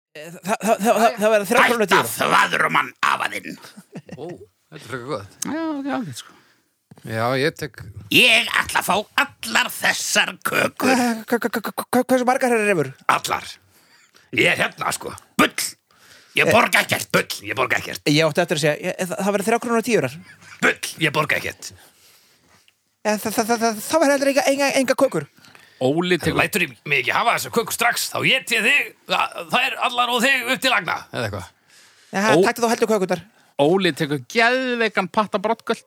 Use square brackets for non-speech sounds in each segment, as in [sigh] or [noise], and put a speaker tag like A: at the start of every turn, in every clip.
A: það, það, það, það, það verða þrjá krónu
B: Ætta
A: dýra
B: þvaðrum hann afaðinn
C: Ó, þetta er frekar gott.
B: Já, ok, ok, sko
C: Já, ég tek,
B: Ég ætla að fá allar þessar kökur
A: Hva- hva- hva- hva- Hversu margar herrar refur?
B: Allar Ég er hérna, sko Bull Ég borga ekkert, bull Ég borga ekkert,
A: Ég átti eftir að segja, ég- það, það verða þrjá krónu dýrar
B: bull Ég borga ekkert
A: En það, það, það, það, það var heldur enga, enga, enga kökur
C: Óli tekur
B: Lætur ég mig ekki hafa þessar kökur strax Þá ég til þig Það, það er allar og þig upp til agna
C: eða eitthvað.
A: ja,
C: Ó.
A: Takti þá heldur kökurnar
C: Óli tekur geðveikan patta brottgöld.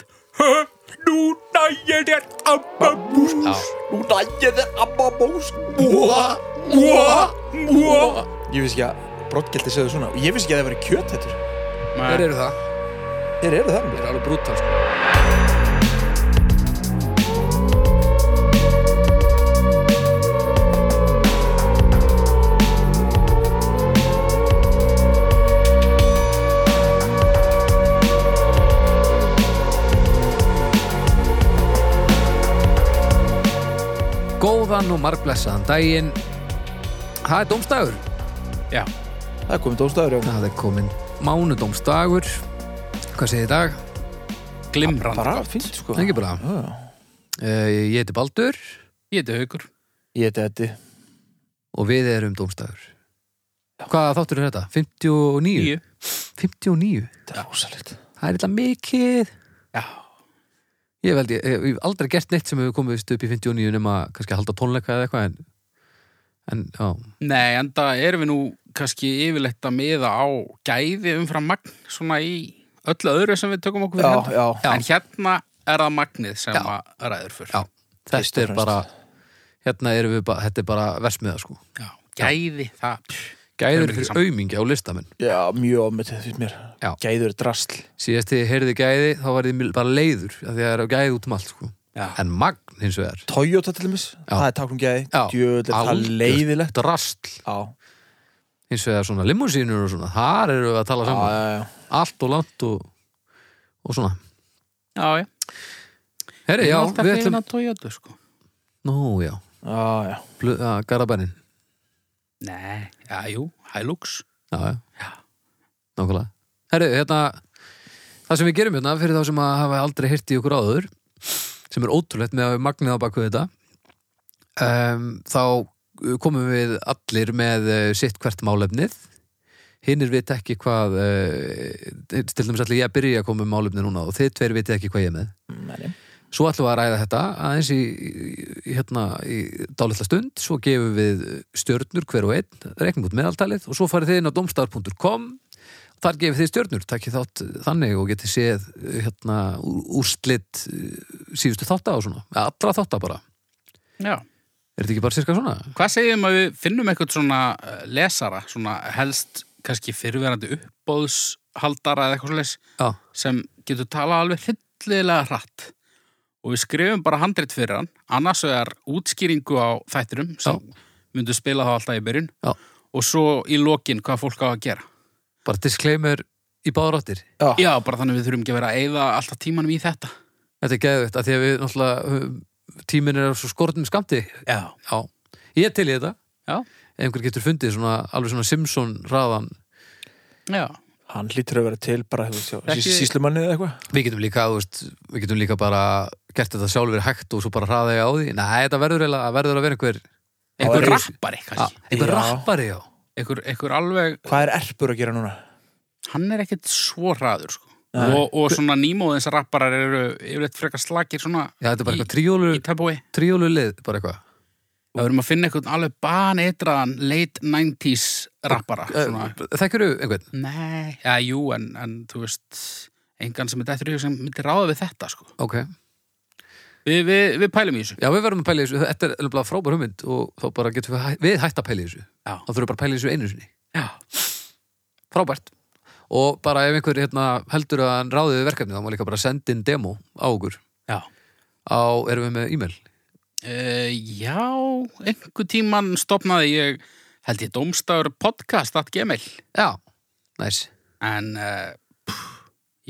B: Núna ég er amma bús
C: Já.
A: Núna ég er amma bós
B: Múa, múa, múa
A: Ég vissi ekki að brottgjaldi segðu svona Ég vissi ekki að það verið kjöt þetta
C: Þeir eru það.
A: Þeir eru það
C: Þeir eru alveg brútal. sko. Góðan og margblessaðan daginn. Það er dómstagur. Já.
A: Það er komið dóstaður já
C: Það er komin mánudómsdagur. Hvað segir í dag? Glimrand.
A: Bara fínt sko
C: Það er ekki bara.
A: Já.
C: Uh, ég heiti Baldur. Ég heiti Haugur.
A: Ég heiti Eddi
C: Og við erum dómstagur. Hvað þáttur er þetta? 59? 59?
A: Þetta er rosalegt
C: Það er eitthvað mikið.
A: Já.
C: Ég veldi, ég hef aldrei gert neitt sem hefur komist upp í 59 nema kannski að halda tónleika eða eitthvað en, en já,
D: Nei, enda erum við nú kannski yfirleitt að miða á gæði umfram magn svona í öllu öðru sem við tökum okkur
A: Já,
D: hendur.
A: já.
D: En hérna er það magnið sem
C: Já.
D: að ræður fyrr.
C: já,
A: Fyrst og
C: þetta er
A: fremst.
C: bara, hérna erum við bara, þetta er bara versmiða sko.
D: Já. Gæði, það, pff,
C: Gæður
D: Erum við ekki
C: fyrir
D: saman?
C: aumingi á listamenn.
A: Já, mjög ofmetið fyrir mér
C: Já.
A: Gæður er drasl
C: síðast þegar ég heyrði gæði þá var ég mil- bara leiður af því að það er á gæði út um allt sko.
D: Já.
C: en magn hins vegar
A: Toyota til dæmis Það er táknum gæði Djöðlega það
C: algjört
A: leiðilegt
C: drasl
A: Já,
C: hins vegar svona limousínur og svona þar eru við að tala
A: já,
C: saman
A: já, já.
C: allt og langt og, og svona
D: já, já.
C: herri
D: Ég
C: já
D: er alltaf
C: við
D: hrifin
C: ætlum
D: að Toyota, sko.
C: nú já
A: já, já.
C: Blö- að garabænin
D: Nei, já, jú, Hilux.
C: já já nákvæmlega herri hérna það sem við gerum hérna fyrir þá sem að hafa aldrei heyrt í okkur áður sem er ótrúlegt með að við magnið á baku þetta um, þá uh, komum við allir með uh, sitt hvert málefnið hinnir vita ekki hvað uh, til dæmis allir ég að byrja að koma með málefnið núna og þið tveir vita ekki hvað ég er með
A: Nei.
C: svo ætlum við að ræða þetta aðeins í, í, hérna, í dálitla stund svo gefum við stjörnur hver og einn reiknum út meðaltalið og svo farið þið inn á domstar.com þar gefið þið stjörnur, takkið þátt þannig og getið séð eh, hérna, úr, úrslit eh, síðustu þátta og svona, Eða allra þátta bara
D: Já.
C: er þetta ekki bara sirka svona?
D: Hvað segjum að við finnum eitthvað svona eh, lesara, svona helst kannski fyrirverandi uppbóðshaldara eða eitthvað svoleiðis
C: Já,
D: sem getur talað alveg hryllilega hratt og við skrifum bara handrit fyrir hann annars er útskýringu á þætturum sem myndu spila þá alltaf í byrjun
C: Já.
D: og svo í lokin hvað fólk á að gera
C: bara disclaimer í báðráttir
A: Já.
D: Já, bara þannig að við þurfum ekki að vera að eyða alltaf tímanum í þetta
C: þetta er geðvægt að því að við náttúrulega höfum- tíminn er af svo skortum skamti
D: Já,
C: Já, ég er til í þetta
D: já,
C: ef einhver getur fundið svona, alveg svona Simpson ráðan
D: já,
A: Hann hlýtur að vera til bara þú veist, hjá
D: Ekki-
A: sí- Sýslumanni eða eitthvað
C: Við getum líka, þú veist, við getum líka bara gert þetta sjálfur hægt og svo bara hraða ég á því Nei, þetta verður, eiginlega- verður að vera einhver
D: einhver
A: er-
D: rappari
C: að,
D: kannski
C: einhver
A: Já.
C: rappari, já
D: einhver, einhver alveg,
A: Hvað er erpur að gera núna?
D: hann er ekkert svo hraður sko.
A: Nei.
D: og, og svona nýmóðins rapparar eru yfirleitt frekar slakir svona
C: Já, þetta er bara
D: í,
C: eitthvað tríólu,
D: í tabúi
C: tríólu lið, bara eitthvað
D: Það verðum að finna eitthvað alveg baneitraðan late 90s rappara. Svona.
C: Eh, Þekkirðu einhvern?
D: Eh, Nei, já, jú, en, en þú veist, engan sem er dættur í hug sem myndi ráða við þetta, sko.
C: Ok,
D: Við, við, við pælum í þessu.
C: já við verðum að pæla í þessu Þetta er alveg frábær hugmynd og þá bara getum við, hæ- við hægt að pæla í þessu
D: Já.
C: Þá þurfum við bara að pæla í þessu einu sinni
D: Já.
C: Frábært Og bara ef einhver hérna, heldur að hann ráði við verkefni þá má líka bara senda inn demo á okkur
D: Já. Eh,
C: á, erum við með e-mail
D: já, einhver tíman stopnaði ég, held ég, domstafur podcast.gmail.
C: Já, næs
D: En uh, pff,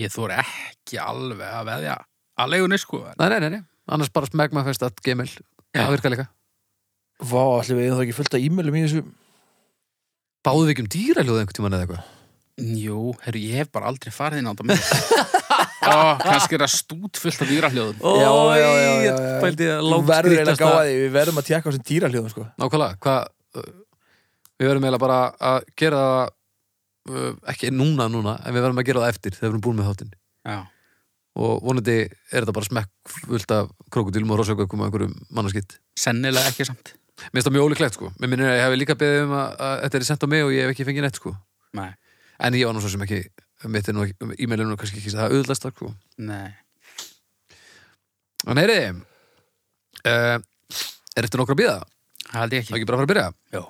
D: ég þóri ekki alveg að veðja að leigunni, sko. En,
C: Nei, nei, nei, nei. annars bara smegmafest.gmail
D: Já.
C: Það virkar líka
A: Vá, allir við erum það ekki fullt af e-mailum í þessu
C: Báðu við ekki um dýraljóð einhvern tímann eða eitthvað?
D: Jú, herru, ég hef bara aldrei farið inn á [laughs] þetta með Ó, kannski er það stút fullt af dýrahljóðum
A: Já, já, já, já, já.
C: Ég pældi að
A: Þú
C: langt
A: verður eiginlega að gáða
C: skrýtasta-
A: því, við verðum að tjekka á þessum dýraljóðum sko.
C: Nákvæmlega, hvað uh, Við verðum eiginlega bara að gera það uh, ekki núna núna en við verðum að gera það eftir þegar við erum búin með þáttinn
D: Já,
C: og vonandi er þetta bara smekk fullt af krokodilum og rosaukökum og einhverjum mannarskitt
D: sennilega ekki samt
C: Mér finnst það mjög ólíklegt sko Mér minnir að ég hef líka beðið um að, að þetta er sent á mig og ég hef ekki fengið neitt sko
D: Nei,
C: En ég var nú svo sem ekki mitt er nú ekki, e-mailinu er kannski ekki það auðlæsta sko
D: nei
C: En heyriði uh, Er eftir nokkur að býða?
D: Það held ég
C: Það
D: ekki
C: ekki bara að fara að byrja?
D: Já,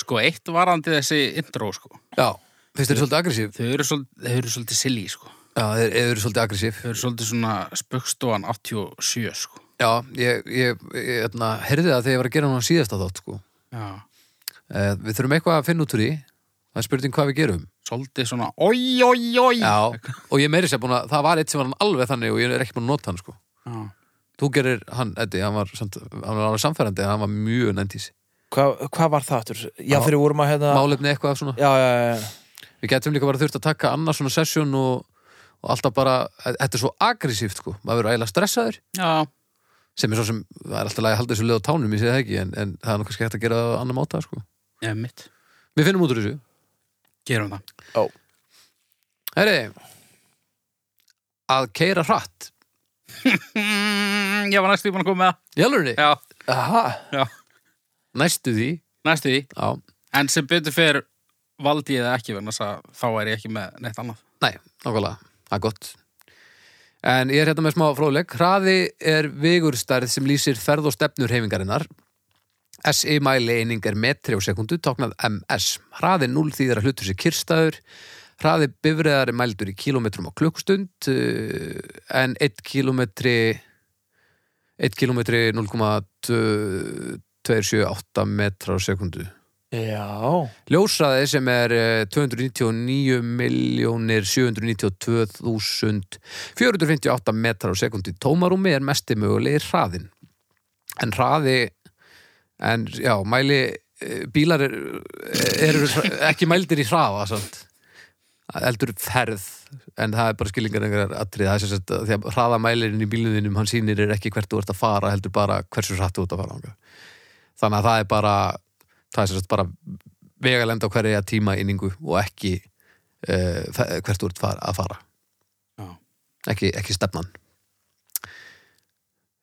D: sko, eitt varandi þessi intro, sko
C: Já, finnst þér svolítið aggressív?
D: Þau eru svolítið, þau eru svolítið silly, sko
C: Já, þeir þeir eru svolítið aggressív
D: Þau eru svolítið svona spöggstofan 87, sko
C: Já, ég, ég, ég hérna, heyrði það þegar ég var að gera hann síðasta þátt sko.
D: Já,
C: eh, Við þurfum eitthvað að finna út úr því Það er spurning hvað við gerum
D: svolítið svona Oi, oi, oi
C: Já, og ég meiri sér búin að það var eitt sem var hann alveg þannig og ég er ekki búin að nota hann sko.
D: Já.
C: Þú gerir hann, Eddi, hann var, samt, hann var alveg samferðandi en hann var mjög næntís
A: Hvað hva var það aftur? Já,
C: Má-
A: þegar við vorum að hérna
C: Málefni eitthvað af svona
A: Já, já, já, já
C: Við getum líka bara þurft að taka annars svona sesjón og, og alltaf bara, þetta er svo aggressíft sko, maður verður ægilega stressaður
D: Já,
C: sem er svo sem, það er alltaf lagi að halda þessu lið á tánum, ég segi það ekki, en, en það er nú kannski hægt að gera það á annan máta sko.
D: eða mitt
C: Við finnum út úr þessu
D: Gerum það
C: Herri, að keira hratt
D: mm, Ég var næstu búin að koma með
C: Í alvörunni,
D: það Já,
A: Aha,
C: næstu því
D: næstu því
C: Já,
D: En sem betur fyrir valdi ég það ekki vegna þess að þá er ég ekki með neitt annað
C: nei, nákvæmlega, það er gott En ég er hérna með smá fróðleik Hraði er vigurstærð sem lýsir ferð og stefnur heifingarinnar SI mæli eining er metri á sekundu táknað MS Hraði 0 þýðir að hlutur sér kyrstæður Hraði bifræðar er mældur í kilometrum á klukkustund eh, en 1 kilometri 1 kilometri 0,278 metra á sekundu
A: já
C: Ljósraði sem er eh, 299.792.458 metrar á sekundi tómarúmi er mesti mögulegi hraðin. En hraði, en já, mæli, eh, bílar er- eru er, ekki mældir í hraða, sant? Eldur ferð, en það er bara skilningar einhverjar atrið. Það er sem sagt að því að hraðamælirinn í bílunum hann sýnir er ekki hvert þú ert að fara, heldur bara hversu hratt þú ert að fara. þangað. Þannig að það er bara, það er sem sagt bara vegalenda á hverja tíma inningu og ekki uh, hvert þú ert far, að fara
D: Já.
C: ekki, ekki stefnan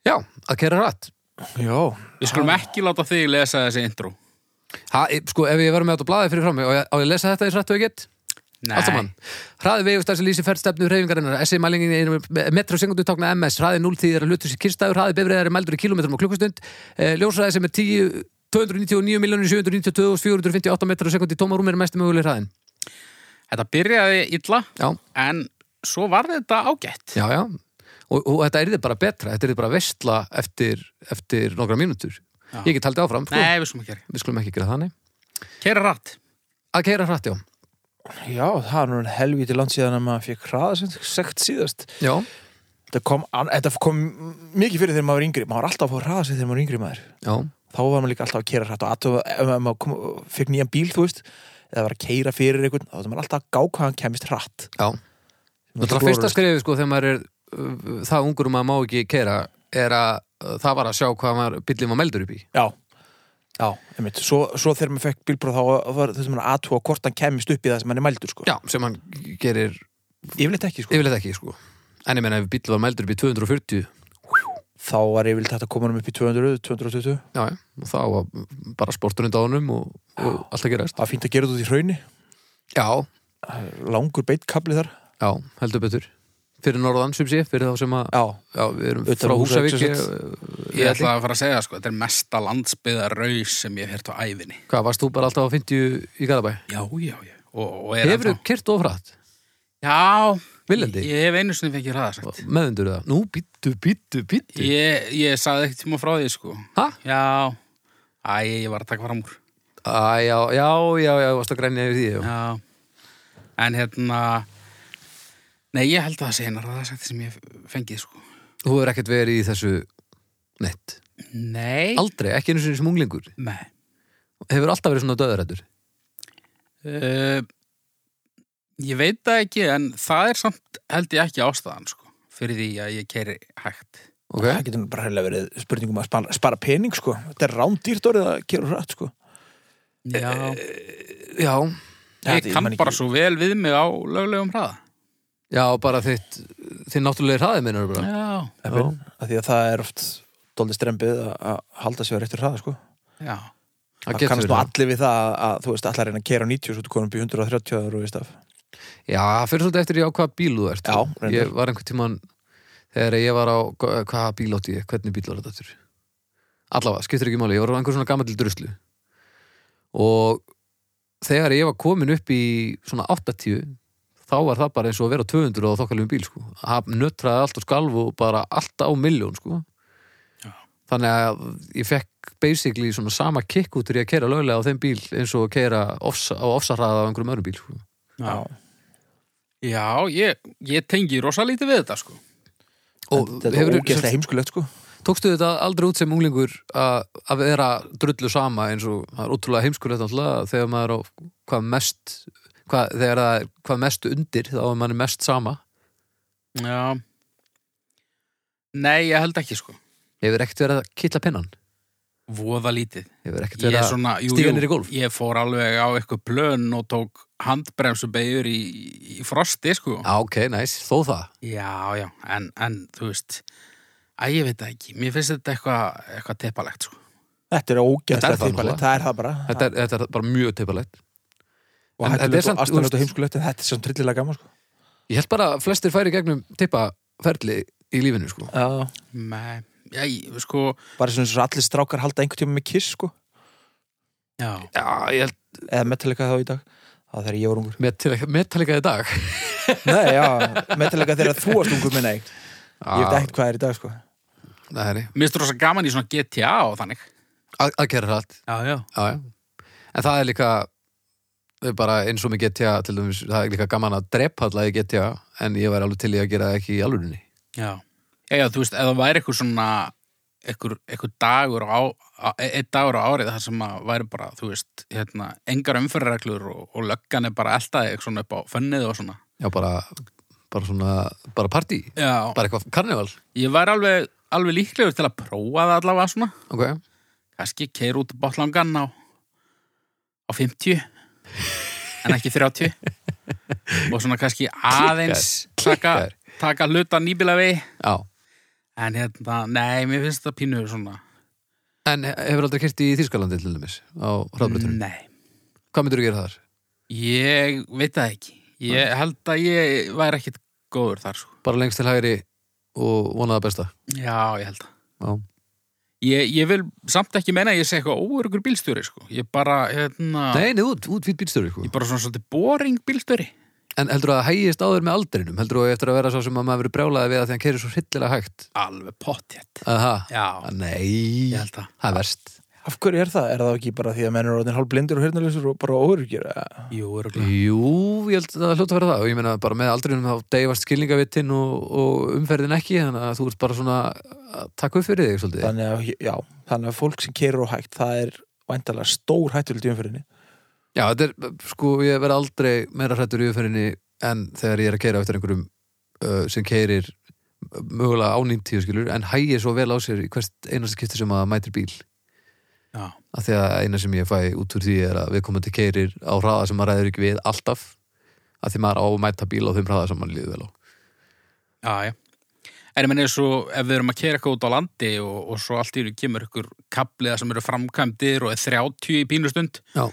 C: Já, að kæra rætt
A: Já,
D: Við skulum ekki láta þig lesa þessi intro
C: ha, e- Sko, ef ég verður með þetta blaðið fyrir fram mig og ég, á ég að lesa þetta eins rætt og ég get
D: Nei,
C: Allt saman. Hraði vegustar sem lýsir ferðstefnu hreyfingarinnar SI mælingin er metru sekundu tákna MS Hraði 0 þýðir að hlutur sér kyrstæður Hraði bifræðar er meldur í kilometrum á klukkustund eh, Ljósraði sem er 10 299.792.458 metrar á sekundi tómarúm er mest möguleg hraðin
D: Þetta byrjaði illa
C: Já,
D: en svo var þetta ágætt
C: Já, já, og, og þetta er bara betra, þetta er bara veistla eftir, eftir nokkra mínútur.
D: Já.
C: Ég get haldið áfram, sko,
D: Nei, við skulum ekki gera
C: við skulum ekki gera þannig.
D: Kæra rætt
C: Að keira hratt, já.
A: já, það er nú en helvítið land síðan að maður fekk hraða sem sagt síðast
C: Já,
A: Þetta kom, an- þetta kom mikið fyrir þegar maður var yngri Maður var alltaf að fá hraða sig þegar maður var yngri maður
C: já,
A: Þá var maður líka alltaf að kera hratt og alltaf, ef maður- ef maður kom, fekk nýjan bíl, þú veist eða var að keira fyrir einhvern, þá var maður alltaf að gá hvað hann kemist hratt
C: já. Náttúrulega fyrsta skrifið, sko, þegar maður er uh, það ungur og maður má ekki keira, er að uh, það var að sjá hvað maður bíllinn var meldur upp í.
A: Já, já, einmitt Svo, svo þegar maður fekk bílbróð þá var þessum að atúa hvort hann kemist upp í það sem hann er mældur sko.
C: Já, sem hann gerir
A: Yfirleitt ekki sko
C: yfirleitt ekki, sko. En ég meina ef bíll var meldur upp í 240,
A: Þá var yfirleitt hægt að koma hann upp í 200, 220
C: já, já, og þá var bara sporturinn dánum og, og allt að gerast.
A: Það var fínt að gera þetta út í hrauni
C: Já,
A: Langur beittkabli þar
C: já, heldur betur. Fyrir norðan, sem sé, fyrir þá sem að
A: Já,
C: Já, við erum
A: Utan
C: frá
A: Húsavík,
C: Húsavík
A: sem
C: ég-
D: Ég ætla að fara að segja það sko, þetta er mesta landsbyðar raus sem ég hef hert á æfinni
C: Hvað, varst þú bara alltaf á 50 í Garabæ?
D: Já, já, já og, og er
C: Hefur þú
D: ennþá-
C: kyrt ofrætt?
D: Já,
C: Viljandi?
D: ég hef einu sinni fengið hraða sagt
C: Meðundur það? Nú, býttu, býttu, býttu
D: Ég, ég sagði ekkert tíma frá því sko
C: Hæ?
D: Já, æ, ég var að taka fram úr
C: Æ, já, já, já, já, varst að grænja yfir því já.
D: Já, en hérna Nei, ég held að það sé eina hraða sagt sem ég hef fengið sko
C: Þú hefur ekkert verið í þessu neitt
D: Nei.
C: Aldrei, ekki einu sinni sem unglingur
D: Nei.
C: Hefur alltaf verið svona döðrættur
D: Uh, ég veit það ekki, en það er samt held ég ekki ástæðan, sko, fyrir því að ég keiri hægt.
A: það getur nú bara heilega verið spurningum að spara, spara pening sko þetta er rándýrt orðið að gera rætt sko
D: Já.
C: Já,
A: Þetta-
D: Eh, ég kann
A: man ekki-
D: bara svo vel við mig á löglegum hraða.
C: já, bara þitt þinn náttúrulega hraði minnar bara
D: Já.
A: Efinn, af því að það er oft dóldi strempið að- að halda sig á réttur hraða sko
D: Já.
C: Það
A: það
C: getur
A: kannast nú
C: verið það.
A: allir við það að, að þú veist allar reyna að kera á 90 og svo þú konum býr 130 ára og veist af
C: Já, það fyrir svolítið eftir í á hvaða bíl þú ert
A: Já, reyndar.
C: Ég var einhvern tímann þegar ég var á, hvaða bíl átti ég hvernig bíl var þetta aftur Allavega, skiptir ekki máli, ég var á einhver svona gamall druslu og þegar ég var komin upp í svona 80 þá var það bara eins og að vera á 200 og þokkalum bíl sko. það nötraði allt og skalf og bara allt á milljón sko. þannig að ég fekk basically svona sama kick út úr ég að keira löglega á þeim bíl eins og að keira ofsa, á ofsarraða á einhverjum öðrum bíl sko.
D: Já. Já, ég, ég tengi rosa lítið við þetta, sko.
C: og
A: þetta er
C: hefurðu-
A: ógeðslega heimskulegt sko
C: Tókstu þetta aldrei út sem unglingur að að vera drullu sama eins og það er ótrúlega heimskulegt alltaf þegar maður er á hvað mest hvað, þegar það er hvað mest undir þá er maður mest sama
D: Já. Nei, ég held ekki, sko.
C: hefur ekkert verið að kittla pinnan
D: Voða lítið.
C: hefur ekkert
D: Ég
C: verið
D: er
C: að
D: svona, jú,
C: stíga
D: jú,
C: niður í gólf?
D: Ég fór alveg á eitthvað plön og tók handbremsubegjur í, í frosti, sko.
C: Já, ok, næs, þó það
D: Já, já, en, en þú veist, að ég veit það ekki, mér finnst þetta eitthvað eitthva teppalegt, sko.
A: þetta er ógeðslega
C: Þetta er það
A: tímalegt,
C: náttúrulega.
A: það er það bara
C: þetta er, þetta er bara mjög teipalegt
A: og
C: en þetta er
A: hættulegt
C: samt,
A: og astanlegt
C: þú
A: og
C: veist-
A: heimskulegt en þetta er svona trillilega gaman sko
C: Ég held bara að flestir færi í gegnum tippaferli í lífinu sko
A: Já.
D: Nei, já, ég, sko,
A: bara svona eins og allir strákar halda einhvern tíma með kiss sko
D: já,
C: Já, ég held
A: eða Metallica þá í dag það þegar ég var ungur
C: Metallica, Metallica í dag
A: Nei, já, Metallica þegar þú varst ungur minna ég ég
C: Ah.
A: veit ekkert hvað er í dag sko
C: Það er í
D: mér finnst rosa gaman í svona GTA og þannig.
C: Að að gera hratt
D: Já, já.
C: já, já. en það er líka það er bara eins og með GTA til dæmis, það er líka gaman að drepa alltaf í GTA en ég væri alveg til í að gera það ekki í alvörinni
D: Já, já, já þú veist, ef það væri eitthvað svona, eitthvað, eitthvað dagur á, á- e- einn dagur á árið þar sem að væri bara, þú veist, hérna, engar umfyrirreglur og, og löggan er bara eldaði eitthvað svona upp á fönnið og svona.
C: já, bara, bara svona, bara partí
D: Já,
C: bara eitthvað karnival
D: ég væri alveg, alveg líklegur til að prófa það allavega svona.
C: okay.
D: kannski keir út botlangan á, á 50 en ekki 30 og svona kannski aðeins taka,
C: klikkar.
D: taka hluta nýbila vegi
C: já,
D: en hérna, nei, mér finnst þetta pínu svona,
C: en he- hefur aldrei kyrt í Þýskalandi til dæmis á hraðbrytunum,
D: nei
C: hvað myndur þú gera þar?
D: ég veit það ekki ég held að ég væri ekkit góður þar sko.
C: bara lengst til hægri og vona það besta
D: já, ég held að
C: já,
D: ég, ég vil samt ekki meina að ég sé eitthvað óörugur bílstjóri sko. ég bara, hérna
C: nei, nei, út, út fyrir bílstjóri sko.
D: ég bara svona svolítið boring bílstjóri
C: en heldur þú að það hægist áður með aldrinum heldur þú eftir að vera svo sem að maður verið brjálaði við að því að hann keirir svo hryllilega hægt
D: alveg pottjætt
C: Aha.
D: já,
C: nei,
D: ég held að
C: það er verst
A: af hverju er það? Er það ekki bara því að menn eru orðin hálf blindur og hirnalysur og bara óryggir?
D: jú, örugglega.
C: Jú, ég held að það hljóta að vera það og ég meina bara með aldrinum þá deyfast skilningavittin og, og umferðin ekki þannig að þú ert bara svona að taka upp fyrir þig svolítið.
A: Þannig að, já, þannig að fólk sem kerur og hægt það er væntalega stór hættulegt í umfyrinni
C: Já, þetta er, sko, ég verð aldrei meira hrættur í umferðinni en þegar ég er að keira eftir einhverjum uh, sem keirir mögulega á 90 skilur en hægir svo vel á sér í hvert einasta skipti sem að mætir bíl
D: já,
C: að því að eina sem ég fæ út úr því er að við komum til keirir á hraða sem maður ræður ekki við alltaf að því maður á að mæta bíl á þeim hraða sem maður líður vel á.
D: Já, já. En ég menn eins og ef við erum að kera eitthvað út á landi og, og svo allt í einu kemur ykkur kapliða sem eru framkvæmdir og er 30 í pínustund,
C: Já,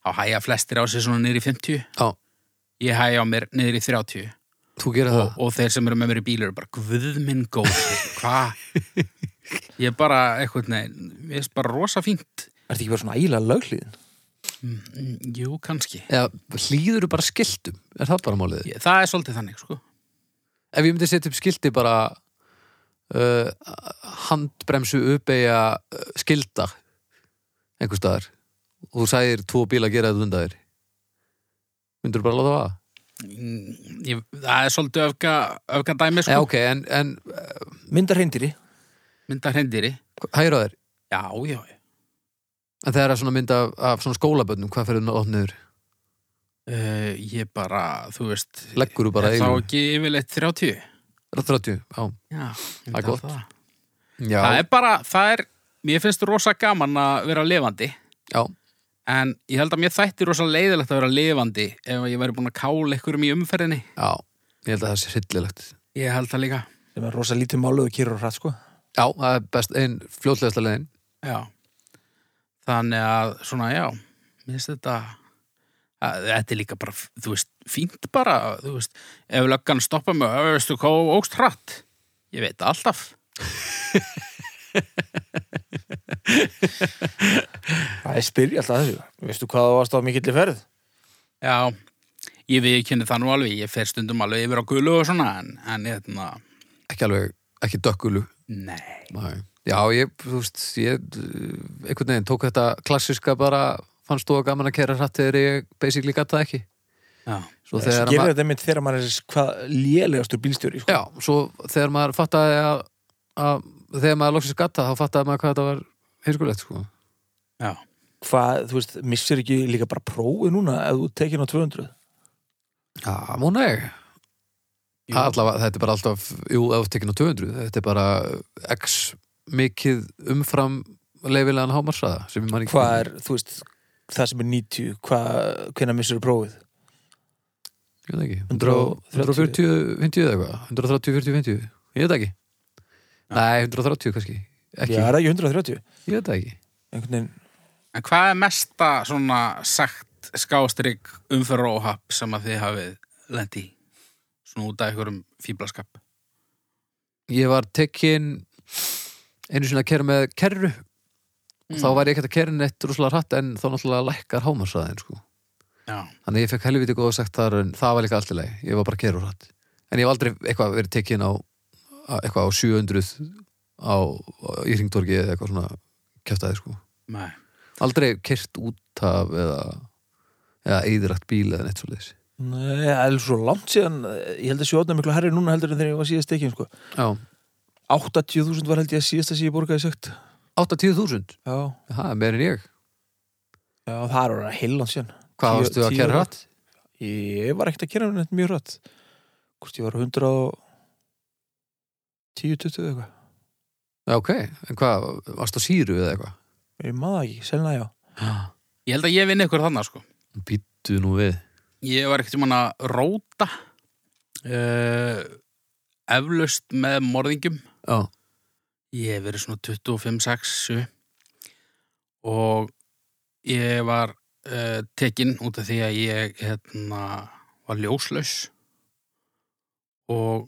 D: þá hæja flestir á sig svona niður í 50.
C: já,
D: Ég hæja á mér niður í 30
C: þú gerir það.
D: og, og þeir sem eru með mér í bíl eru bara guð minn góð, [laughs] hvað? Ég er bara eitthvað, nei, ég er bara rosa fínt.
A: Er þetta ekki bara svona ægilega löglíðin?
D: Mm, Jú, kannski.
C: eða hlýður bara skiltum er það bara málið
D: Ég, það er svolítið þannig, sko.
C: ef ég myndi setja upp skilti bara uh, handbremsu uppeyja uh, skilda einhver staðar og þú sæðir tvo bíla að gera þetta undan þér myndur bara láta það vaða?
D: Mm, Ég, það er svolítið öfga, öfga dæmi,
C: Nei,
D: sko.
C: ok, en, en
A: Myndar hreindýri,
D: mynda hrendýri
C: hægir á þér
D: já, já, já
C: en það er að svona mynda af, af svona skólabönnum hvað fyrir það niður,
D: uh, ég bara, þú veist
C: leggur þú bara
D: er þá
C: eigum
D: ekki yfirleitt 30
C: Rá- 30, já,
D: já,
C: Það er
D: ég myndi halda
C: gott.
D: það.
C: já,
D: það er bara, það er mér finnst rosa gaman að vera levandi
C: já.
D: en ég held að mér þætti rosa leiðilegt að vera levandi ef ég væri búin að kála einhverjum í umferðinni
C: já. ég held að það sé hryllilegt
D: ég held það líka
A: sem er rosa lítið máluðu kýrur og hratt sko
C: já, það er best einn fljótlegasta leiðin
D: Já. Þannig að, svona, já, minnst þetta, að, þetta er líka bara, þú veist, fínt bara, þú veist, ef löggan stoppa mig, "Ö, veistu hvað, ógst hratt, ég veit það alltaf.
A: það er spyrja alltaf að þessu veistu hvað það varst á mikill í ferð
D: Já, ég við kynni það nú alveg, ég fer stundum alveg yfir á gulu og svona, en, en, hérna,
C: ekki alveg, ekki dökkulu
D: nei,
C: Nei. Já, ég, þú veist, ég uh, einhvern veginn tók þetta klassiska bara fannst þú að gaman að kera hratt þegar ég basically gatt það ekki
D: já,
C: Svo
A: það
C: þegar
A: gerir
C: maður,
A: þetta einmitt þegar maður er hvað lélegastur bílstjóri sko.
C: já, svo þegar maður fattaði að, að þegar maður loksins gatt það, þá fattaði maður hvað þetta var hinskulegt, sko.
D: já.
A: hvað, þú veist, missir ekki líka bara prófið núna ef þú tekir á 200
C: Já, múna ég Allavega, þetta er bara alltaf, jú, ef þú tekinn á 200 þetta er bara x mikið umfram leifilegan hámarsraða sem ég man ekki
A: hvað er, þú veist, það sem er 90 hvað, hvenær missir prófið
C: Ég veit ekki,
A: 130.
C: 140, 50 eða eitthvað 130, 40, 50, ég veit ekki Nei, 130 kannski ekki,
A: já, er það ekki 130
C: ég veit það ekki
A: einhvern veginn,
D: En hvað er mesta, svona, sagt skástrík umferðróhap sem að þið hafið lendi í? Svona út af einhverjum fíblaskap.
C: Ég var tekin einu sinni að kera með kerru og þá var ég ekkert að kera neitt rúslega hratt en þá náttúrulega lækkar hámarsraðin sko.
D: Já,
C: Þannig að ég fekk helviti góða sagt þar en það var líka allt í lagi, ég var bara að kera úr hratt En ég hef aldrei eitthvað verið tekin á á- eitthvað á 700 á, á í ringdorgi eða eitthvað svona kjaftaði sko
D: nei.
C: aldrei kert út af eða, eða eðirætt bíl eða neitt svo leiðis
A: Nei, það er svo langt síðan ég held að sjóðna miklu herri núna heldur en þegar ég var síðast ekki sko.
C: Já,
A: 80.000 var held ég að síðasta sem ég borgaði sagt
C: 80.000,
A: já, já,
C: það er meir en ég
A: það er orðið heilan síðan
C: Hvað
A: Tíu-
C: varstu að
A: tíu
C: kera
A: ára.
C: hratt?
A: ég var ekkert að kera neitt mjög rætt hvort ég var 100 og 10-20 eitthvað
C: Já, ok, en hvað, varstu á síru eða eitthvað?
A: ég maður ekki, selna já
D: Ég held að ég vinni ykkur þannig, sko.
C: Býttu nú við
D: Ég var ekkert um að róta uh, eflaust með morðingjum.
C: Já,
D: Ég hef verið svona 25, 6, 7 og ég var uh, tekin út af því að ég hérna, var ljóslaus og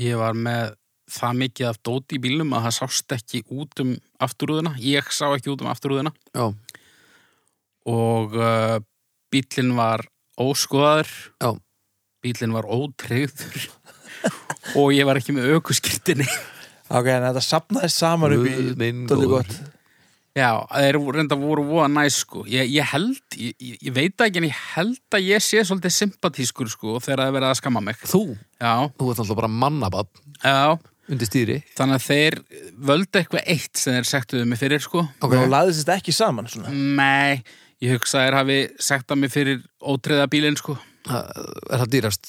D: ég var með það mikið af dóti í bílum að það sást ekki út um afturúðuna. Ég sá ekki út um afturúðuna.
C: já,
D: og uh, bílinn var óskoðaður
C: Já.
D: bílinn var ótreyður og ég var ekki með aukuskirtinni
A: ok, en þetta sapnaði saman upp í
C: Guð minn
A: dálítið
C: góður.
A: gott
D: já, þeir voru- reynda voru voða næs sko, ég, ég held ég, ég ég veit það ekki en ég held að ég sé svolítið sympatískur sko þegar það er verið að skamma mig
C: Þú,
D: já,
C: þú ert alltaf bara mannabann
D: já,
C: undir stýri
D: þannig að þeir völdu eitthvað eitt sem þeir sektuðu mig fyrir sko
A: okay. og laðist þetta ekki saman svona.
D: nei, ég hugsa að þeir hafi sektað mig fyrir ótreyða bílinn sko
C: Það- Er það dýrast?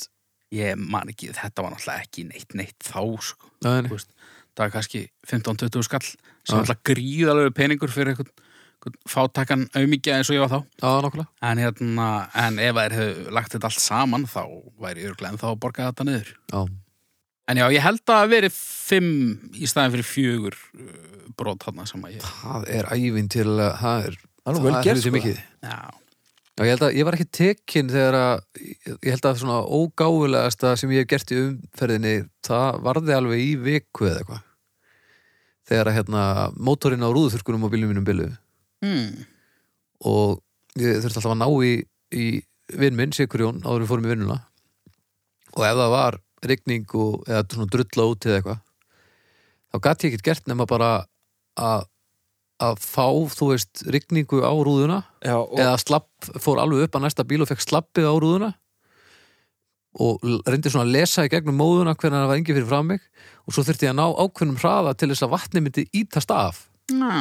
D: ég man ekki, þetta var náttúrulega ekki neitt neitt þá sko
C: Nei, nei.
D: Þú veist, það er kannski 15-20 skall sem er alltaf gríðalegu peningur fyrir einhvern, einhvern fátakan auðmíkja eins og ég var þá
C: Já, nokkulega
D: en, hérna, en ef þær hefðu lagt þetta allt saman þá væri örglega en þá að borga þetta niður
C: Já,
D: en já, ég held að það hafi verið 5 í staðin fyrir fjögur uh, brot þarna sem að ég
C: það er ævinn til að það er
A: Það er nú vel
C: það
A: gert,
C: helviti
A: sko.
C: mikið.
D: já,
C: Já, ég held að ég var ekki tekin þegar að ég held að svona ógáfulegasta sem ég hef gert í umferðinni það varði alveg í viku eða eitthvað þegar að hérna mótorinn á rúðuþurkunum á bílum mínum bylu
D: hmm,
C: og ég þurfti alltaf að ná í, í vinn minn, Sigurjón, áður en við fórum í vinnuna og ef það var rigning og eða svona drulla út eða eitthvað þá gat ég ekkert gert nema bara að að fá, þú veist, rigningu á rúðuna
A: já, og,
C: eða slapp, fór alveg upp að næsta bíl og fekk slappið á rúðuna og l- reyndi svona að lesa í gegnum móðuna hvernig hann var engi fyrir fram mig og svo þurfti ég að ná ákveðnum hraða til þess að vatni myndi ítast af
D: Já.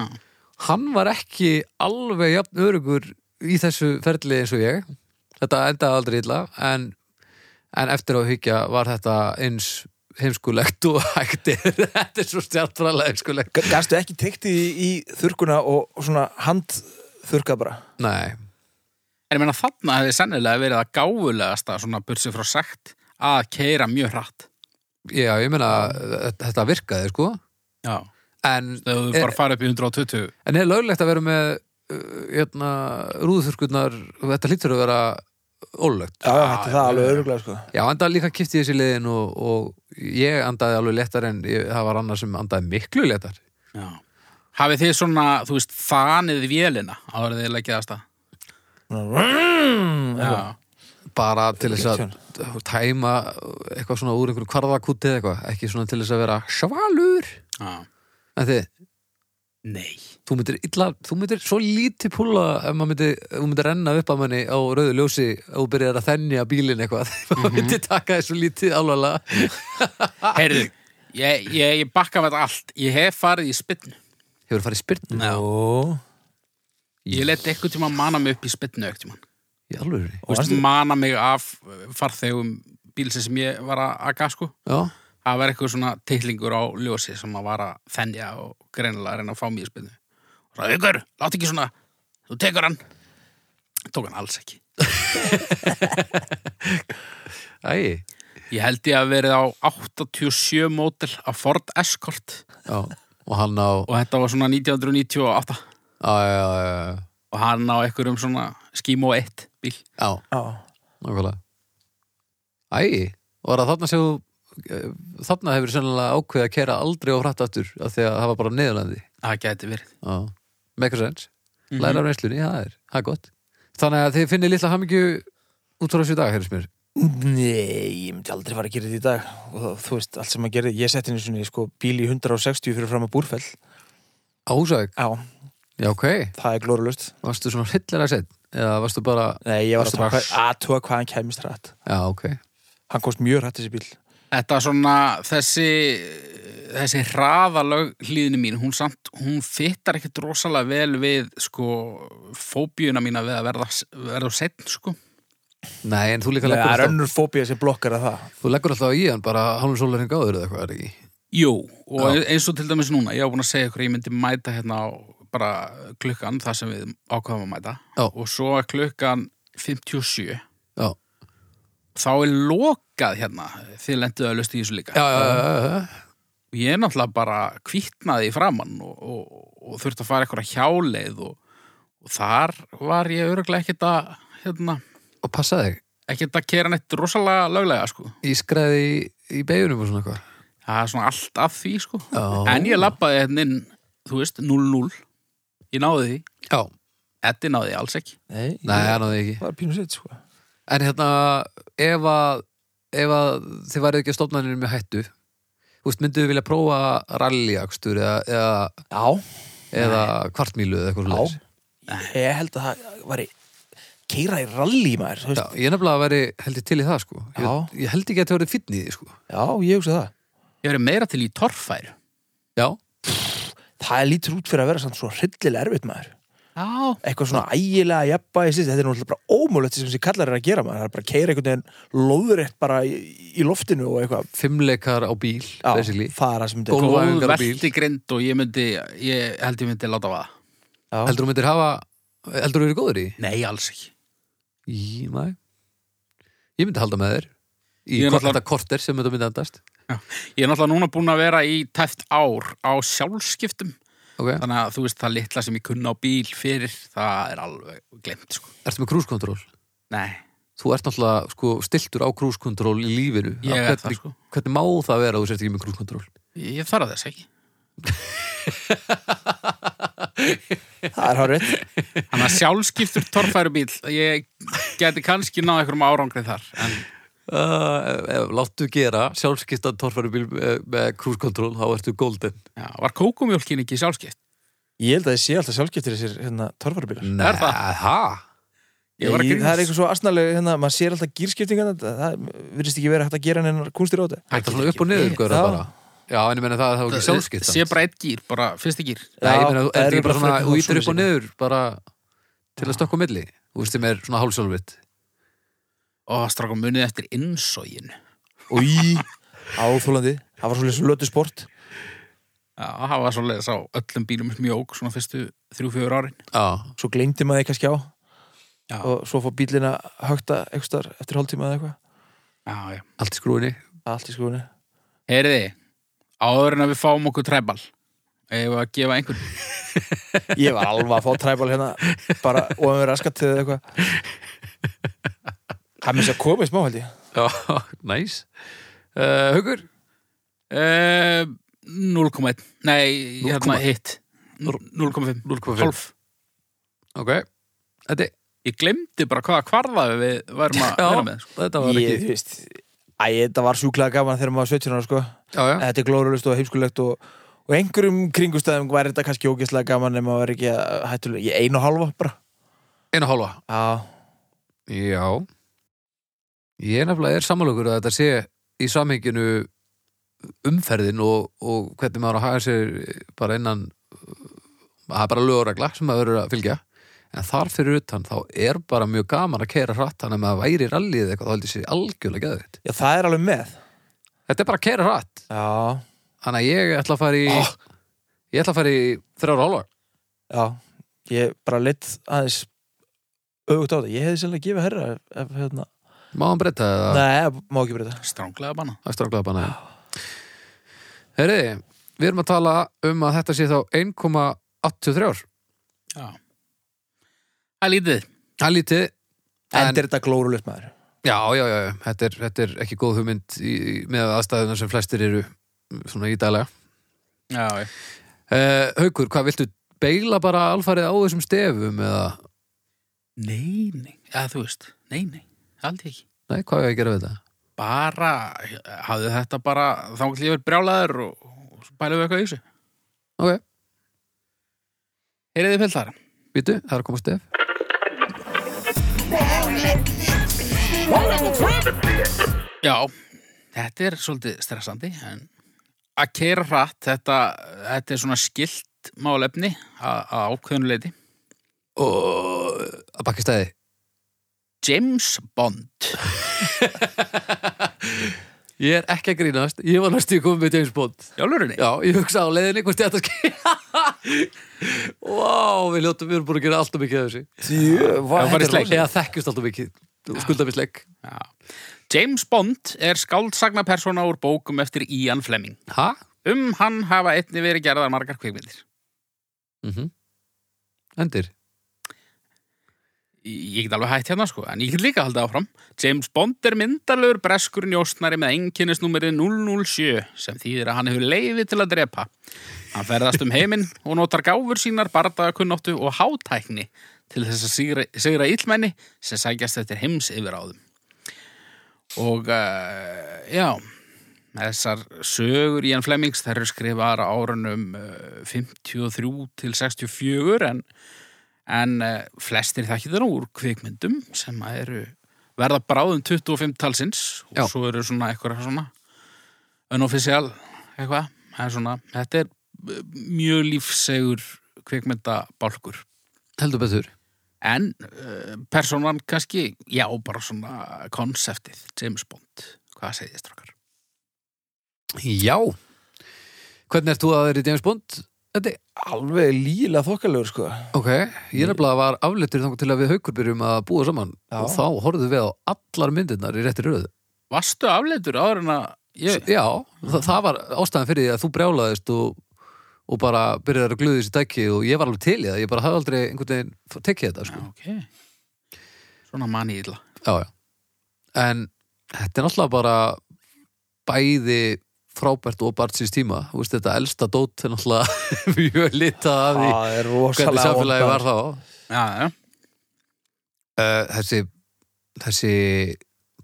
C: hann var ekki alveg jafn örugur í þessu ferli eins og ég þetta endaði aldrei illa en, en eftir á hyggja var þetta eins heimskulegt og [laughs] hægt er þetta er svo stjartfræðlega heimskulegt
A: Gastu ekki teikt í, í þurrkuna og og svona hand þurrkað bara
C: nei,
D: En ég meina þarna hefði sennilega verið að gáfulegasta svona bursið frá sagt að keira mjög hratt.
C: já ég meina þetta- þetta virkaði sko
D: Já.
C: en,
D: Þegar þú
C: Eh,
D: bara farið upp í 120.
C: en er löglegt að vera með uh, hérna, rúðþurkurnar þetta hlýtur að vera ólögt
A: Já, já, þetta er það alveg öruglega sko
C: Ah, Já, enda líka kipti ég þessi liðin og, og ég andaði alveg léttar en ég, það var annar sem andaði miklu léttar.
D: Já. Hafið þið svona, þú veist, þanið vélina áður en þið leggjaði að stað?
A: Já,
D: Já.
C: Bara til þess að tæma eitthvað svona úr einhverju kvarðakúti eða eitthvað, ekki svona til þess að vera svalur.
D: Já.
C: En þið,
D: Nei.
C: þú myndir illa, þú myndir svo lítið púla ef maður myndir, þú myndir renna upp að manni á rauðu ljósi og byrjar að þennja bílinn eitthvað. [laughs] maður myndir taka þessu lítið alvarlega.
D: Heyrðu, ég, ég, ég bakka með þetta allt. Ég hef farið í spynnu.
C: Hefur farið í spyrnum?
D: Já.
A: Ó,
D: Ég leti eitthvað tíma mana mig upp í spynnu eitthvað tíma.
C: Í alvöru.
D: Þú veist, mana mig af eh, farþegum bílsins sem ég var að aga, sko.
C: Já.
D: Það var eitthvað svona teiklingur á ljósi sem að var að þennja og greinilega að reyna að fá mér í spynnu. Og sagði, ykkur, látt ekki svona, þú tekur hann. Tók hann alls ekki.
C: Æi.
D: Ég held ég að verið á 87 mótil af Ford Escort
C: Já. Og hann á...
D: og þetta var svona 1998
C: Já, já, já, já, já.
D: og hann á einhverjum svona Skimo 1 bíl.
C: Já,
A: já
C: nákvæmlega Æ, var það þarna sem þú- eh, þarna hefur sennilega ákveðið að kera aldrei á hratt aftur af því að það var bara neðurlandi
D: Það gæti verið.
C: Já, make sense Læra af reynslunni, já, það er, það er gott Þannig að þið finnir litla hamingju út frá þessu í dag, heyrðis mér
A: Nei, ég myndi aldrei fara að gera þetta í dag og það, þú veist, allt sem maður gerði, ég setti henni svona sko, bíl í 160 fyrir fram að búrfell
C: Ásæk,
A: Já,
C: já, ok
A: það er glórulust
C: Varstu svona hryllir að sett eða varstu bara,
A: Nei, ég var
C: Varstu
A: að taka
C: bara-
A: aðtúa hvað hann kæmist rætt
C: já, ok
A: Hann komst mjög rætt þessi bíl
D: Þetta svona, þessi, þessi hraðalög hlýðinu mín, hún samt, hún fyttar ekkit rosalega vel við, sko, fóbíuna mína við að verða, verða setn, sko.
C: Nei, en þú líka
A: Það
C: leggur
A: er
C: alltaf,
A: önnur fóbía sem blokkar að það
C: þú leggur alltaf í hann bara hálfum sólarinn gáður eða eitthvað, er ekki?
D: Jú, og eins og til dæmis núna, ég á búin að segja ykkur, ég myndi mæta hérna á bara klukkan, það sem við ákvaðum að mæta.
C: Já.
D: Og svo er klukkan 57,
C: Já,
D: þá er lokað hérna, þið lenduðu að lustu í þessu líka.
C: já, já, já, já, já.
D: og ég er náttúrulega bara kvítnaði í framann og, og, og þurfti að fara eitthvað hjáleið og, og þar var ég öruglega ekkert að hérna,
C: Og passa þig,
D: ekkert að kera neitt rosalega löglega sko.
C: ég skræði í, í beigunum og svona eitthvað
D: það er svona allt að því sko.
C: Já.
D: en ég labbaði hérna inn þú veist, 0-0 ég náði því,
C: Já,
D: Eddi náði því alls ekki
A: Nei,
C: Nei,
A: ég,
C: hann á því ekki.
A: það er pínu sitt sko
C: En hérna, ef að, ef að þið værið ekki að stofnanir með hættu, þú veist, mynduðu vilja prófa rallyakstur eða, eða,
A: Já,
C: eða kvartmílu eða eitthvað
A: Já.
C: slúðis?
A: ég held að það var í keira í rally maður þú
C: Já,
A: veist.
C: ég er nefnilega að veri heldur til í það, sko. Ég,
A: Já.
C: ég held ekki að það verið fýtni í því, sko.
A: Já, ég hugsa það
D: ég verið meira til í torfær
C: Já,
A: Það lítur út fyrir að vera samt svo hryllilega erfitt maður
D: já,
A: Eitthvað svona ægilega jafnbæði sitt Þetta er náttúrulega bara ómögulegt sem þessi kallar er að gera maður Það er bara að keira einhvern veginn lóðrétt bara í, í loftinu og eitthvað
C: fimmleikar á bíl,
A: Já,
C: basically.
A: það er það sem myndi
C: Golf.
D: góð
C: Gólfæfingar á bíl.
D: veltigrind og ég myndi ég held ég myndi láta vaða
A: Já.
C: Heldur þú myndir hafa, heldur þú verið góður í?
D: nei, alls ekki
C: Í, næ. Ég myndi halda með þér. Í
D: Ég er
C: kort,
D: náttúrulega-
C: þetta korter sem þetta myndi andast.
D: Ég er náttúrulega núna búin að vera í tæft ár á sjálfskiptum
C: Ok,
D: Þannig að þú veist það litla sem ég kunna á bíl fyrir Það er alveg glemt sko
C: ertu með krúskontroll?
D: Nei,
C: Þú ert náttúrulega, sko, stiltur á krúskontroll í lífinu.
D: ég er
C: hvernig,
D: það sko
C: hvernig má það vera að þú sért ekki með krúskontroll
D: Ég þarf þess ekki
A: Það er hárið
D: Þannig að sjálfskiptur torfæru bíl Ég geti kannski náð einhverjum árangri þar En
C: uh, láttu gera sjálfskiptan torfærubíl með, með krúskontroll þá ertu golden
D: já, var kókumjólkin ekki sjálfskipt?
A: Ég held að þið sé alltaf sjálfgeftir þessir hérna, torfarbílar
C: Nei,
D: Er Eh, það?
C: ha?
D: Ég var að
A: Ég- það er
D: grínast.
A: eitthvað svo asnalega hérna, maður sér alltaf gýrskiptingan það virðist ekki verið hægt að gera hennar kunstir á þetta
C: Þetta er svona upp og niður, Gaur,
A: Já.
C: bara. Já, en ég meina það, það er ekki sjálfskipt.
D: sé bara eitt gýr, bara fyrsti gýr
C: Nei, ég
A: Já,
C: meina, þú-
A: það
C: er þetta
A: eru
C: ekki bara
A: bara
C: svona,
A: frekar
C: þú ítir upp og
A: hálfsjálfvirkir.
C: niður, bara til að stökka á milli. Þú veist, sem er svona hálfsálfitt.
D: og stráka munið eftir innsógin
A: og í áþólandi það var svolítið lötu sport
D: Já, það var svoleiðis á öllum bílum mjók svona fyrstu þrjú-fjögur árin
C: Já.
A: svo gleymdi maður eitthvað skjá
D: Já.
A: og svo fór bílina högta ekstar eftir hálftíma eða eitthvað
D: Já, já
C: Allt í skrúinni.
A: allt í skoðunni
D: Heyriði, áður en að við fáum okkur trebal eða að gefa einhvern
A: ég var alveg að fá træbal hérna bara og að vera raskat til eða eitthvað það minnst að koma í smá held ég
C: Já, [laughs] næs. Uh, Haukur?
D: uh, 0,1 Nei, hérna
C: 0,1.
D: hitt Nú- 0,5
C: 0,5.
D: Hálf
C: Ok. Þetta,
D: Ég glemdi bara hvaða kvarða við værum að vera með sko.
C: þetta var
A: ég,
C: ekki...
A: þú veist æ, þetta var sjúklega gaman þegar maður var 17 ára sko
C: Já, já.
A: þetta er glórulust og heimskulegt og, og einhverjum kringustæðum var þetta kannski ógeðslega gaman en maður var ekki að hættulega ég einu og halva bara
C: Einu og hálfa.
A: já,
C: Já. Ég er nefnilega er samanlögur að þetta sé í samhenginu umferðin og, og hvernig maður á að haga sér bara innan það er bara löguregla sem maður verður að fylgja en þar fyrir utan þá er bara mjög gaman að keira hratt þannig að maður væri í rallið eitthvað þá heldur sér algjörlega geðvitt
A: já, það er alveg með
C: Þetta er bara að keira hratt
A: já,
C: þannig að ég ætla að fara í ég ætla að fara í þrjára hálfa
A: já, ég bara litt aðeins auðvitað á þetta ég hefði sérlega gefið herra ef, ef, hérna.
C: Máðan breyta eða
A: nei, má ekki breyta
D: Stránglega banna
C: eftir að glapa hana Herriði, við erum að tala um að þetta sé þá 1,83 ár
D: Já Það er lítið
C: Það er lítið
A: en,
C: En-
A: er þetta glórulust maður
C: Já, já, já, já. þetta er, þetta er ekki góð hugmynd í, í- með aðstæðuna sem flestir eru mm, svona í daglega
D: Já, já
C: uh, Haukur, hvað viltu beila bara alfarið á þessum stefum eða,
D: Nei, nei, eða þú veist, nei, nei, aldrei ekki.
C: nei, hvað er að gera við þetta?
D: Bara, hafði þetta bara, þá ætlum ég verið brjálaður og, og svo bælum við eitthvað í þessu.
C: Ok,
D: Heyriði pildar,
C: býtu, það er að koma stef
D: já, þetta er svolítið stressandi, en að keira hratt, þetta, þetta er svona skilt málefni að að ákveðnuleiti.
C: og að bakka stæði
D: James Bond.
C: Ég er ekki að grínast, ég var næstu komið með James Bond
D: Já, lúrinni.
C: Já, ég hugsa á leiðinni hvort þetta skil [laughs] Vá, við ljóttum, við erum búin að gera alltaf mikið af þessu
A: Jú,
D: Ef þú farið í sleik.
C: Eða þekkjumst alltaf mikið Skulda við sleik
D: Já. James Bond er skáldsagnapersóna úr bókum eftir Ian Fleming.
C: Ha?
D: Um hann hafa einni verið gerðar margar kvikmyndir.
C: Mm Endir
D: ég get alveg hægt hérna sko, en ég get líka haldið áfram. James Bond er myndalögur breskur njósnari með enginnisnúmeri 007 sem þýðir að hann hefur leiði til að drepa. Hann ferðast um heiminn og notar gáfur sínar bardagakunnáttu og hátækni til þess að sigra, sigra illmenni sem sækjast eftir heims yfir áðum. Og uh, já, þessar sögur Ian Flemings þær eru skrifaðar á árunum uh, 53 til 64 en en uh, flestir þekkir það nú úr kvikmyndum sem að eru verða bráðum 25 talsins og
C: Já.
D: svo eru svona eitthvað svona unofficial eitthvað það er svona, þetta er eh, mjög lífsegur kvikmyndabálkur
C: Heldur betur
D: en uh, personan kannski, já, bara svona konseptið, James Bond hvað segið strakkar?
C: Já Hvernig ert þú að vera í James Bond? Endi
A: alveg líla þokkalegur sko
C: Ok, ég nefnilega var aflittur þangur til að við haukur byrjum að búa saman
A: Já.
C: og þá horfðum við á allar myndirnar í réttir röðu
D: Vastu afleitur áður en að ég,
C: Já, þa það var ástæðan fyrir því að þú brjálaðist og, og bara byrjar að glöðu þessi dæki og ég var alveg til í það, ég bara hafði aldrei einhvern veginn f- tekið þetta,
D: já,
C: sko.
D: ok svona manni illa
C: Já, já. En þetta er náttúrulega bara bæði frábært og bart síns tíma, þú veist, þetta elsta dót er náttúrulega [laughs] mjög litað af því
A: það er
C: Ah, hvernig
A: rosalega
C: samfélagi
A: vont,
C: var þá.
D: já, já,
C: Uh, þessi, þessi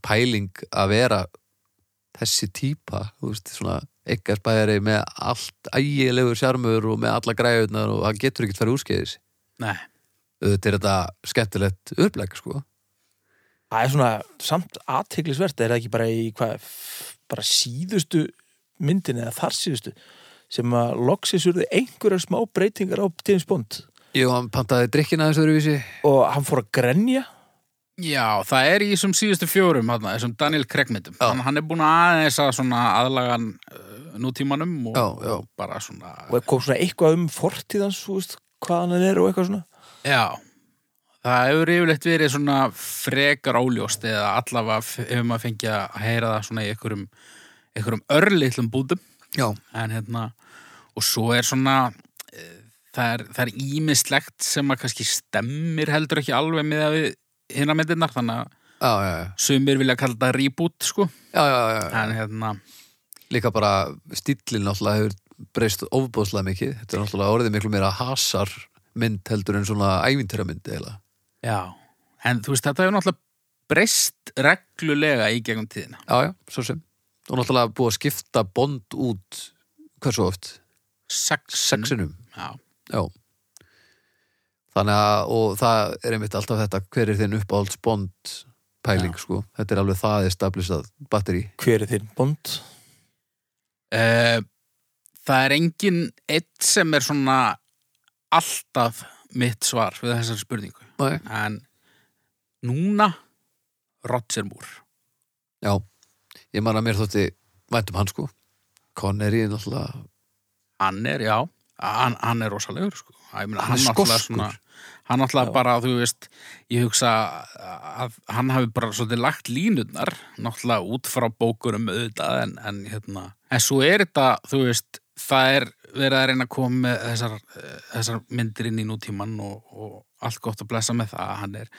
C: pæling að vera þessi típa, þú veist, svona ekkert með allt ægilegur sjarmur og með alla græðunar og það getur ekkert farið úrskeiðis
D: nei
C: auðvitað er þetta skemmtilegt uppleg sko.
A: Það er svona samt aðteglisvert er það ekki bara í hvað bara síðustu myndin eða þar síðustu sem að loksis urðu einhverjar smá breytingar á James Bond
C: Jú, hann pantaði drikkina þessu öðruvísi
A: og hann fór að grenja
D: Já, það er í þessum síðustu fjórum hana, þessum Daniel Craigmyndum hann, hann er búin aðeins að svona aðlagan uh, nútímanum og,
C: Já, já.
D: og bara svona
A: og kom svona eitthvað um fortíðans þú veist, hvaðan hann er og eitthvað svona
D: Já, það hefur yfirleitt verið svona frekar óljóst eða allavega f- hefur maður fengið að heyra það svona í einhverjum, einhverjum örlitlum bútum
C: Já,
D: en hérna og svo er svona eh, það er, það er ímislegt sem að kannski stemmir heldur ekki alveg með að við hinna myndirnar þannig að
C: já, já, já,
D: sumir vilja kalla þetta reboot sko
C: já, já, já.
D: en hérna
C: Líka bara stíllinn náttúrulega hefur breyst ofbóðslega mikið Þetta er náttúrulega orðið miklu meira hasar mynd heldur en svona ævintýra mynd eiginlega
D: já. en þú veist þetta hefur náttúrulega breyst reglulega í gegnum tíðina
C: Já, já, svo sem Og náttúrulega búið að skipta bond út hversu oft?
D: sexin,
C: Sexinum
D: Já.
C: Já Þannig að, og það er einmitt alltaf þetta hver er þinn uppáhalds bond pæling, sko, þetta er alveg það established batteri
A: hver er þinn Bond?
D: Eh, það er engin eitt sem er svona alltaf mitt svar við þessari spurningu
C: Nei.
D: en núna Roger Moore
C: Já, ég man að mér þótti væntum hann sko Connery er náttúrulega
D: hann er, já, hann, hann er rosalegur sko. hann,
C: Hann er
D: náttúrulega
C: skoskur.
D: hann náttúrulega
A: Já.
D: bara, þú veist ég hugsa að hann hafi bara svolítið lagt línurnar náttúrulega út frá bókurum auðvitað en, en, hérna, en svo er þetta, þú veist það er verið að reyna að koma með þessar, eh, þessar myndir inn í nútíman og, og allt gott að blessa með það hann er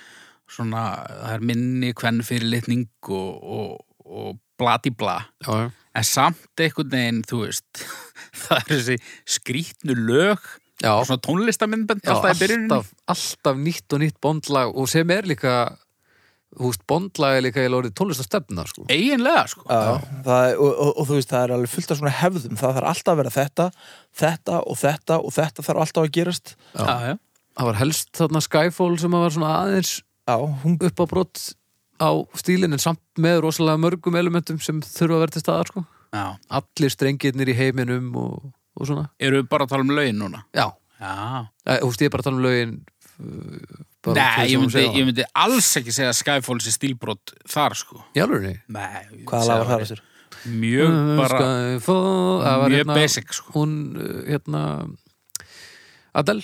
D: svona, það er minni hvern fyrirlitning og, og, og blati bla
C: Já, já,
D: en samt einhvern veginn, þú veist [laughs] það er þessi skrýtnu lög
C: já,
D: og svona tónlistamindbönd
C: já
D: alltaf í byrjuninu
C: alltaf, alltaf nýtt og nýtt bondlag og sem er líka húst bondlag er líka í lórið tónlistastefna sko
D: eiginlega, sko
A: Já, Ah, það, er- og, og, og þú veist, það er alveg fullt af svona hefðum það þarf alltaf að vera þetta, þetta og þetta og þetta þarf alltaf að gerast
D: já, já.
C: Það var helst þarna Skyfall sem að var svona aðeins
A: Já, hún
C: upp á brott á stílinn en samt með rosalega mörgum elementum sem þurfa að vera til staðar sko
D: Já.
C: Allir strengirnir í heiminum og, og svona
D: eru við bara að tala um lögin núna
C: Já,
D: já.
C: húst ég er bara að tala um lögin uh, bara þau
D: Nei,
C: sem
D: ég
C: hún
D: myndi,
C: segir á.
D: ég myndi alls ekki segja að Skyfall sé stílbrot þar, sko
C: Í alvörunni?
D: Nei, ég myndi
A: hvaða
D: segja
A: lagar það
D: væri
A: þessir?
D: mjög
C: Mm,
D: bara,
C: Skyfall það var
D: mjög
C: hérna-
D: basic, sko
C: Hún, uh, hérna Adele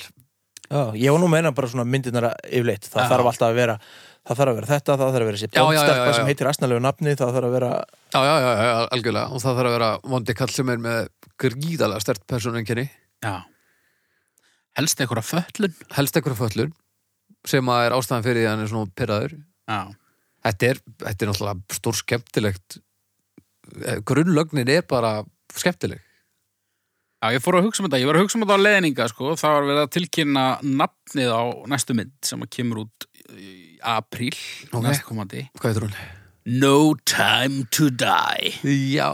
A: Já, ég var nú að meina bara svona myndirnar að- yfirleitt, það
D: Já.
A: þarf alltaf að vera það þarf að vera þetta, það þarf að vera þessi
C: Já, já, já, já,
A: bóndsterpa
C: já.
A: sem heitir asnalegu nafni, það þarf að vera
C: Já, já, já, já, algjörlega og það þarf að vera vondi kall sem er með gríðalega stert persónuenginni
D: já. helst einhverja föllun
C: helst einhverja föllur sem að er ástæðan fyrir því að hann er svona pyrraður
D: já,
C: Þetta er, þetta er náttúrulega stór skemmtilegt Eh, grunnlögnin er bara skemmtileg
D: Já, ég fór að hugsa um þetta, ég var að hugsa um þetta á leðninga sko, það var verið að tilkynna nafnið á næstu mynd sem að kemur út í apríl
C: Ok.
D: næstkomandi
C: Hvað heitir hún?
D: No Time to Die
C: Já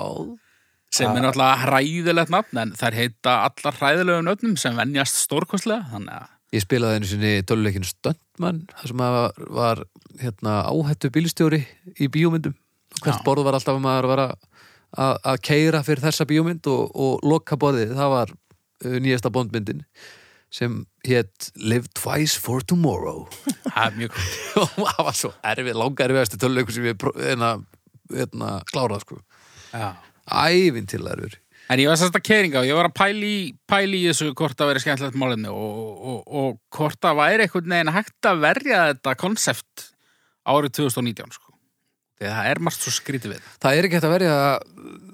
D: sem er náttúrulega hræðilegt nafn en þær heita allar hræðilegum nöfnum sem venjast stórkostlega þannig að,
C: Ég spilaði einu sinni töluleikin Stöndmann, það sem að var, var hérna, áhættu bílstjóri í bíómyndum og hvert
D: Já.
C: borð var alltaf um að maður var að- að að keira fyrir þessa bíómynd og, og loka borðið, það var uh, nýjasta bondmyndin sem hétt Live Twice for Tomorrow
D: það er mjög
C: [laughs]
D: gott
C: og það var svo erfið, langa erfiðasti töluleikur sem ég pró- hérna, hérna, klárað sko
D: Já.
C: ævintillarfur
D: En ég var sérst að keringa og ég var að pæli, pæli í þessu hvort það væri skemmtilegt málefni og, og, og hvort það væri einhvern veginn hægt að verja þetta konsept árið 2019 sko. Þegar það er margt svo skrítið við.
C: Það er ekki hægt að verja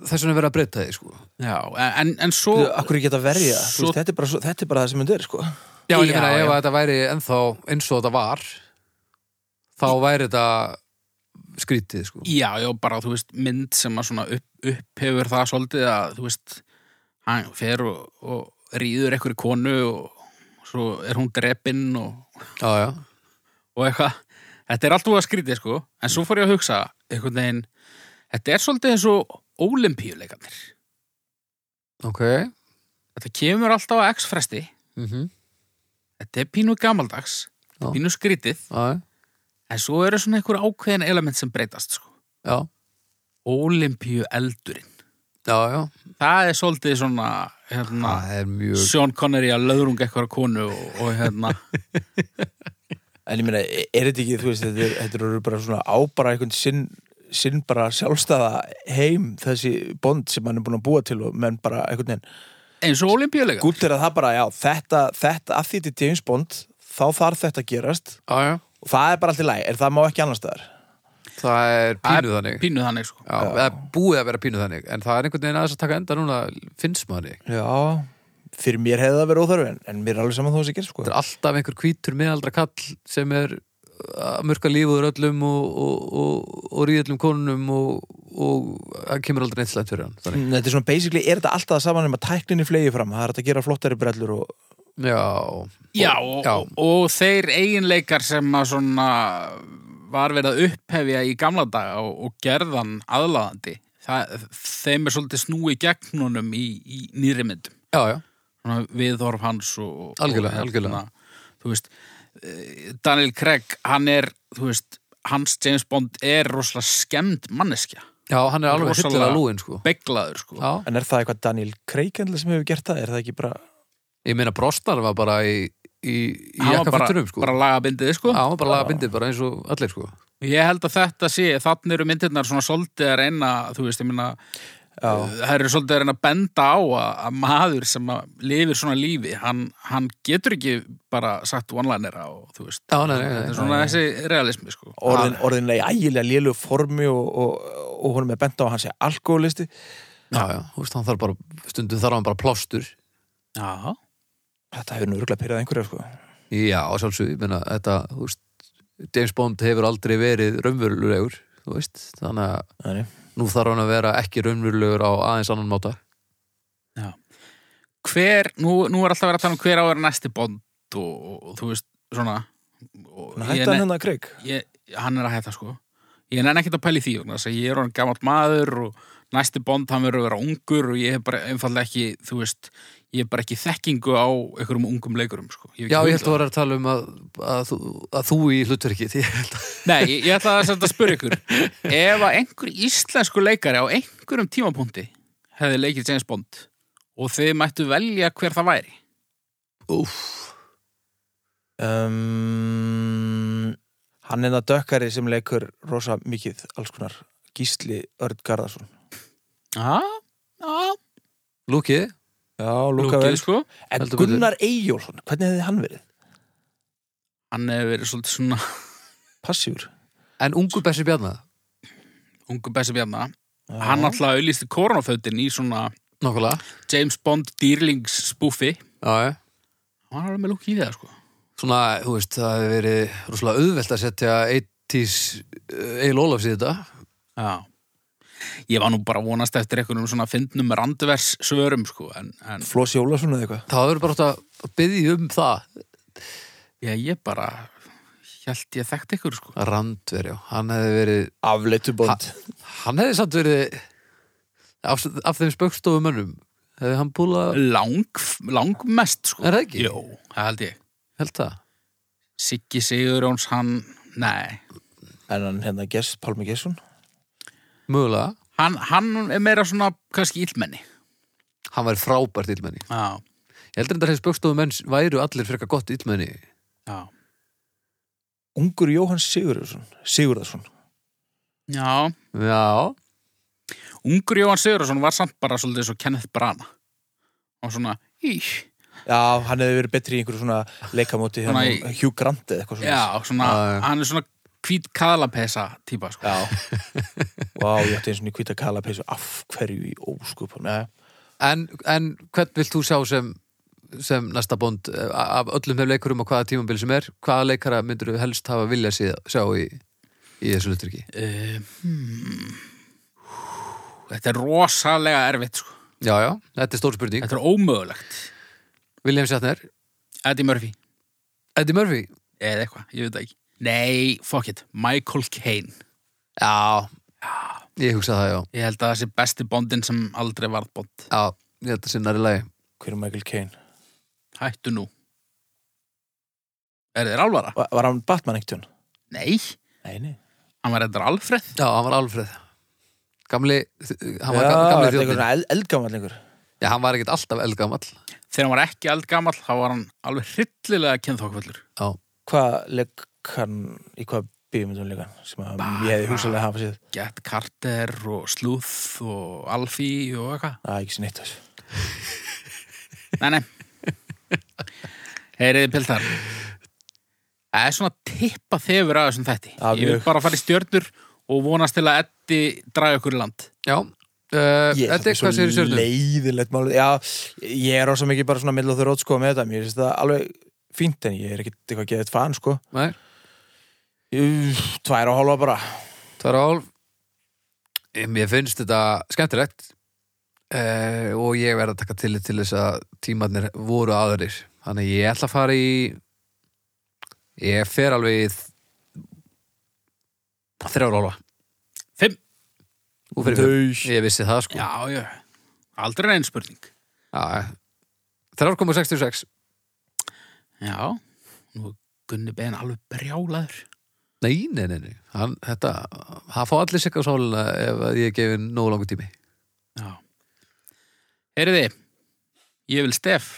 C: þess vegna er verið að breyta því sko
D: Já, en, en svo...
A: Þú, akkur ekki geta verja, svo...
D: Svo-
A: veist, þetta, er bara, svo- þetta er bara það sem þetta er sko.
C: Já, en ég
D: Já,
C: meina ef
D: já.
C: að þetta væri ennþá eins og þetta var þá væri þetta skrítið sko
D: Já, já, bara þú veist, mynd sem að svona upp, upphefur það svolítið að þú veist, hann fer og, og rýður einhverju konu og svo er hún drepinn og
C: Já, já,
D: og eitthvað þetta er allt úr að skrítið sko en svo fór ég að hugsa einhvern veginn þetta er svolítið eins og ólimpíuleikarnir
C: ok
D: þetta kemur alltaf á X-fresti
C: mm
D: þetta er pínu gamaldags
C: Já.
D: pínu skrítið
C: Já,
D: En svo eru svona einhver ákveðin element sem breytast, sko.
C: já,
D: Ólimpíu eldurinn.
C: já, já
D: Það er svolítið svona, hérna,
C: það er mjög
D: Sean Connery að löðrunga eitthvað konu og, og
C: [laughs]
D: hérna,
A: En ég meina, er þetta ekki, þú veist, þetta, er, þetta eru bara svona á bara einhvern sinn, sinn bara sjálfstæða heim þessi bond sem hann er búin að búa til og menn bara einhvern veginn.
D: eins og ólimpíuleika.
A: Gútt er að það bara, já, þetta, þetta að því til James Bond, þá þarf þetta að gerast
C: já, já,
A: og það er bara allt í læg, er það má ekki annar staðar.
C: það er
D: Það er
C: pínuð þannig
D: Pínuð þannig, sko.
C: Já, það er búið að vera pínuð þannig en það er einhvern veginn aðeins að taka enda núna finnst manni,
A: Já, fyrir mér hefði það verið óþarfi en, en mér er alveg saman þó að það sé sko.
C: þetta er alltaf einhver hvítur miðaldra kall sem er uh, að mörka lífuður öllum og, og, og, og ríðallum konunum og, og það kemur aldrei neitt slæmt fyrir hann þannig.
A: Mm, Þetta er svona basically, er þetta alltaf saman um að tækninni flegi fram, það er hægt að gera flottari brellur og
C: Mm. Já,
D: Já, og,
C: Já.
D: Og, og þeir eiginleikar sem að svona var verið að upphefja í gamla daga og, og gerðan aðlaðandi, það, þeim er svolítið snúi gegnunum í, í nýri myndum.
C: já, já,
D: Svona viðhorf hans og...
C: Algjörlega,
D: og,
C: algjörlega.
D: Þú veist, eh, Daniel Craig, hann er, þú veist, hans James Bond er rosalega skemmt manneskja,
C: já, hann er alveg
D: Rosalega-
C: hillilega lúinn sko
D: beglaður, sko.
C: Já,
A: en er það eitthvað Daniel Craig endilega sem hefur gert það, er það ekki bara
C: ég meina brostar var bara í, í, í
D: Hann var bara,
C: jakkafötunum sko
D: bara lagabindið, sko.
C: Já, hann var bara laga bindið bara eins og allir sko
D: Ég held að þetta sé, þannig eru myndirnar svona svolítið að reyna, þú veist, ég meina
A: uh,
D: það eru svolítið að reyna að benda á að, að maður sem að lifir svona lífi, hann, hann getur ekki bara sagt one-linera og þú veist,
C: Já, nei, nei,
D: þetta
C: nei,
D: er svona þessi realismi, sko.
A: orðin, orðin í ægilega lélu formi og, og, og honum er bent á að hann sé alkoholisti
C: Já, já, þú veist, hann þarf bara, stundum þarf hann bara plástur
D: Já,
A: þetta hefur nú örgulega pyrrað einhverja sko.
C: Já, að sjálfsögðu, ég meina þetta, þú veist, James Bond hefur aldrei verið raunverulegur, þú veist, þannig að
A: Nei, nei.
C: nú þarf hann að vera ekki raunverulegur á aðeins annan máta.
D: hver, nú, nú er alltaf verið að tala um hver á að vera næsti bond og, og, og þú veist, svona og,
A: Hann
D: ég
A: hætti hann
D: ne-
A: hennar Craig
D: ég, hann er að hætta, sko. Ég nenni ekkert að pæla í því, vegna þess að ég er hann gamall maður og næsti bond hann verður að vera ungur og ég hef bara einfallega ekki, þú veist, ég hef bara ekki þekkingu á einhverjum ungum leikurum, sko. hef ekki
C: Já, ég
D: hugmynd
C: held að vera að tala um að, að, þú, að þú í hlutverki, því ég held að...
D: Nei, ég, ég ætla að senda að spyrja ykkur Ef að einhver íslensku leikari á einhverjum tímapunkti hefði leikið James Bond og þið mættu velja hver það væri
C: Úf,
A: um, hann hennar dökkari sem leikur rosa mikið alls konar Gísli Örd Garðarsson
D: Já, já,
C: Lúki,
A: Já, Luka
D: lúkið
A: vel
D: sko
A: En
C: Heldur betur.
A: Gunnar Eyjólfsson, hvernig hefði hann verið?
D: Hann hefur verið svolítið svona
A: Passífur
C: en ungu Bessi Bjarnar,
D: ungu Bessi Bjarna
A: Já.
D: Hann alltaf auðlýsti koronafötin í svona
C: nokkulega,
D: James Bond dýrlings spúfi
C: já, já.
D: Hann var alveg með lúkið í það sko
C: Svona, þú veist, það hefur verið rosalega auðvelt að setja 80s Egil Ólafs í þetta.
D: Já Ég var nú bara að vonast eftir einhverjum svona fyndnum randvers svörum sko en, en
A: Flósi Ólafsson eða eitthvað
C: Það hefur bara átt að byggja um það,
D: já, ég bara held ég þekkt ykkur sko
C: Randver, já, hann hefði verið
A: Afleitu bond
C: Hann hefði samt verið af, af þeim spöggstofumönnum hefði hann búlað,
D: lang, langmest sko.
C: Er það ekki?
D: Jó, það held ég
C: held það
D: Siggi Sigurjóns, hann, nei
A: En hann hennar Gess, Pálmi Gesson
C: mögulega,
D: hann, hann er meira svona kannski illmenni
C: hann væri frábært illmenni
D: Já,
C: ég heldur þetta að spöggstofumenn væru allir frekar gott illmenni
D: já
A: Ungur Jóhann Sigurðarsson Sigurðarsson
D: Já,
C: Já,
D: ungur Jóhann Sigurjónsson var samt bara svolítið svo Kenneth Brana og svona, í
A: Já, hann hefði verið betri í einhverju svona leikamóti hérna,
D: Svona í-
A: Hugh Grant eða eitthvað svona
D: Já, svona,
C: Já, já.
D: hann er svona hvít kaðlapesa típa sko.
A: Já Vá, ég ætti eins og nýkvita kala peysu af hverju í óskupunum Já,
C: en, en hvern vilt þú sjá sem sem næsta bond eh, af öllum þeim leikurum á hvaða tímambil sem er hvaða leikara myndur þú helst hafa vilja sé- sjá í, í þessu hluturki
D: uh, hmm. Þetta er rosalega erfitt sko.
C: Já, já, þetta er stór spurning
D: Þetta er ómögulegt
C: William Shatner,
D: Eddie Murphy
C: Eddie Murphy
D: eða eitthvað, ég veit það ekki Nei, fuck it, Michael Caine
C: Já, ég hugsa það, já
D: Ég held að það sé besti bondin sem aldrei varð bond
C: Já, ég held að sinna er í lagi
A: hver er Michael Caine?
D: Hættu nú Er þér alvara?
A: Var, var hann Batman ekkert hann?
D: Nei,
A: Nei, nei.
D: hann var eitthvað Alfred
C: Já, hann var Alfred Gamli, hann var
A: Já,
C: ga-
A: þetta
C: gamli
A: er
C: þjóðin
A: einhvern eld- eldgamall einhver.
C: Já, hann var ekkert alltaf eldgamall
D: Þegar hann var ekki eldgamall, þá var hann alveg hryllilega kynþókvöllur
C: Já,
A: Hvað legg hann, í hvað bíumundum legg hann? Sem að ég hefði hugsalega hafa séð.
D: Get Carter og Slúð og Alfie og eitthvað
A: Það er ekki sér neitt af þessu.
D: Nei, nei Heyriði Piltar Það er svona tippa þefur að þessum þætti
A: Já,
D: Ég vil
A: mjög.
D: bara fara í stjörnur og vonast til að Eddi draga ykkur í land
C: já Uh,
A: Ég
C: Eddi,
A: samt
C: hvað segir í
A: svo
C: stjörnum?
A: Leiðilegt málið, já, ég er rosa mikið bara svona mill og þurr sko með þetta, mér finnst það alveg fínt en ég er ekkit eitthvað að geða þetta fan sko
C: Nei,
A: Úff, Tvær og hálfa bara
C: tvær og hálf Eh, Mér finnst þetta skemmtilegt uh, og ég verð að taka til til þess að tímarnir voru aðrir Þannig að ég ætla að fara í ég fer alveg í þ- þrjár og hálfa
D: Fimm
C: Þú fyrir fimm.
A: Þau,
C: Ég vissi það sko
D: Já, já, aldrei neinn spurning
C: Já, 3,66
D: Já, nú er Gunni Ben alveg brjálaður
C: Nei, nei, nei, nei. Hann, þetta, hann fá allir sikka á sálina ef að ég gefi nógu langur tími
D: Já Heyriði, ég vil Stef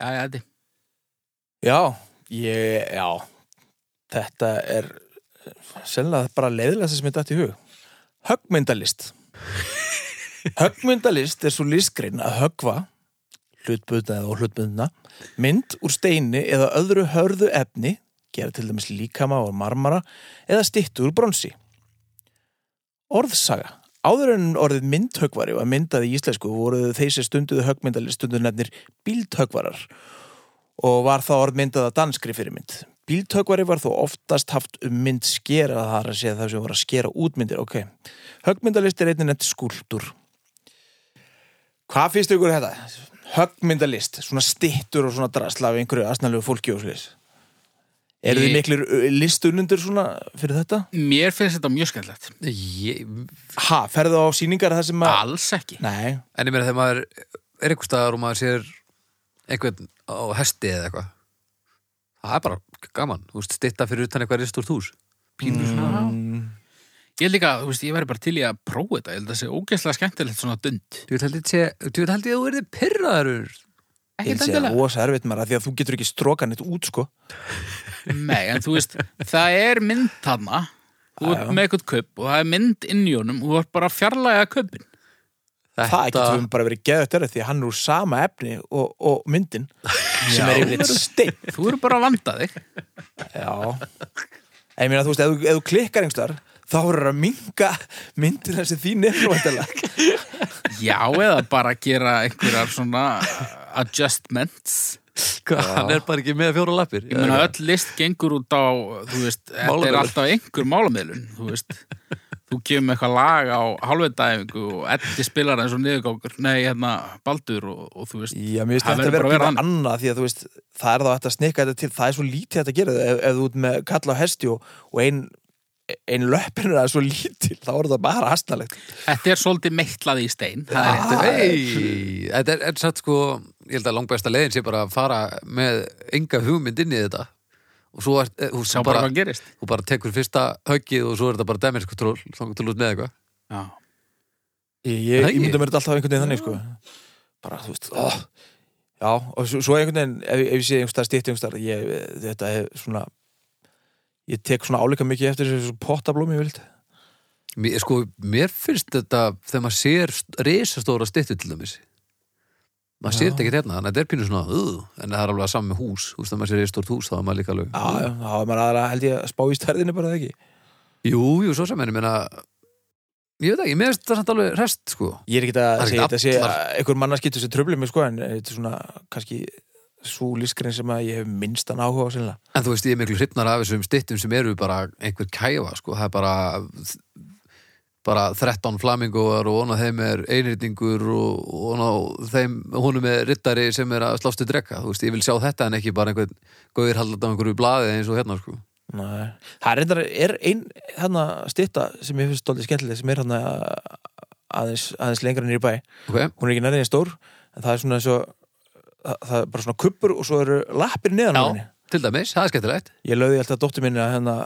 D: Já, já, Eddi
A: já, ég, já Þetta er eh, sennilega bara leiðilegast sem ég dætt í hug Höggmyndalist Höggmyndalist er svo listgrein að höggva hlutbundna eða hlutbundna mynd úr steini eða öðru hörðu efni gera til dæmis líkama og marmara eða styttu úr bronsi Orðsaga Áður en orðið myndhöggvari var myndað í íslensku voru þeir sem stunduðu höggmyndalist stundu nefnir bíldhöggvarar og var það orð myndað að danskri fyrirmynd Bíldhöggvari var þó oftast haft um mynd skera það er að segja það sem var að skera útmyndir ok, höggmyndalist er einnig nefnt skúldur Hvað finnst ykkur þetta? Höggmyndalist, svona stittur og svona drasla af einhverju asnalegu fólki og slis Eru þið
D: Ég-
A: miklir ö, listunundur svona fyrir þetta?
D: Mér finnst þetta mjög skemmtilegt
C: ég,
A: Ha, ferðu á síningar þar sem að...
D: Alls ekki
A: Nei,
C: En ég meina þegar maður er einhver staðar og maður sér einhvern á hesti eða eitthvað Það er bara gaman, þú veist, stitta fyrir utan eitthvað rist úr tús Pínur svona
D: Ég líka, þú veist, ég væri bara til í að prófa þetta Ég held að það sé ógeðslega skemmtilegt svona dund
C: Þú veit held ég sé- þú veit held ég að þú verði pyrraður
A: ég
D: Ekki
A: sé það
D: endilega
A: rosa erfitt maður af því að þú getur ekki strókan eitt út sko
D: Nei, en þú veist, það er mynd þarna Þú ert með eitthvað kaup og það er mynd inn í honum og þú ert bara að fjarlæga kaupin
A: Það getur við bara verið geðvægt erfitt því að hann er úr sama efni og, og myndin sem er yfir eitt stein
D: Þú eru bara að vanda þig
A: Já En ég meina þú veist, ef, þú- ef þú klikkar einhver þá verður að minga myndina sem þín er frávæntalega
D: Já, eða bara gera einhverjar svona adjustments
C: Hvað, [laughs] Hann er bara ekki með fjóra lappir
D: Ég meina öll list gengur út á þú veist, þetta er
C: Málamiðlun.
D: alltaf einhver málamiðlun þú veist þú kemur með eitthvað lag á halvveitæfingu og Eddi spilar eins og niðurgangur nei, hérna, Baldur og, og þú veist
A: Já, mér finnst
D: Það
A: þetta verið að
D: verður bara að vera
A: vera
D: þannig.
A: annað því að þú veist, það er þá eftir að snikka þetta til það er svo lítið þetta að gera þetta ef, ef þú ert með kalla á hesti og, og ein, ein löppin er það svo lítil þá er það bara hasnalegt
D: Þetta er svolítið meitlað í stein það er rétt.
C: Nei, þetta er, er satt sko ég held að langbæsta leiðin sé bara að fara með enga hugmynd inn í þetta og svo er, þú
D: Sjá bara hvað gerist
C: þú bara tekur fyrsta höggið og svo er þetta bara damage control, þannig til út með eitthvað
D: Já,
A: Ég,
C: Er
A: ég,
C: það
A: ég
C: ekki?
A: myndi mér þetta alltaf einhvern veginn þannig sko bara þú veist ó, já og svo, svo einhvern veginn ef, ef ég sé einhverstað stýtt einhverstað ég, þetta er svona ég tek svona álíka mikið eftir þessu pottablómi vild
C: mér, sko, mér finnst þetta þegar maður sér st- risastóra styttu til dæmis maður sér þetta ekki hérna, þannig að þetta er pínu svona uh, en það er alveg að saman með hús, þú veist að maður sér risastórt hús þá er maður líka alveg
A: já já, þá er maður aðra held ég að spá í stærðinni bara eða ekki
C: Jú, jú, svo sem en ég meina ég veit ekki, mér finnst þetta samt alveg rest sko
A: ég er ekki að
C: Það er
A: segja
C: ekki
A: þetta sé
C: allar-
A: að einhver mannarskittu sem tröflum mig sko en þetta er svona kannski svo lískrein sem að ég hef minnstan áhuga á sinna
C: En þú veist, ég er miklu hrypnar af þessum styttum sem eru bara einhver kæfa, sko, það er bara bara 13 flamingoar og honum þeim er einrýtingur og honum þeim, honum er rittari sem er að slástu drekka, þú veist, ég vil sjá þetta en ekki bara einhvern gauðir haldið á einhverju blaði eins og hérna, sko.
A: Nei. það er reyndar er ein hann að stýtta sem ég finnst stoltið skemmtileg sem er hann aðeins, aðeins lengra nýr bæ
C: Ok,
A: hún er ekki nærðin stór en það er svona eins og það, það er bara svona kuppur og svo eru lappir neðan á henni.
C: Já, til dæmis, það er skemmtilegt
A: Ég löði alltaf dóttur minni að hérna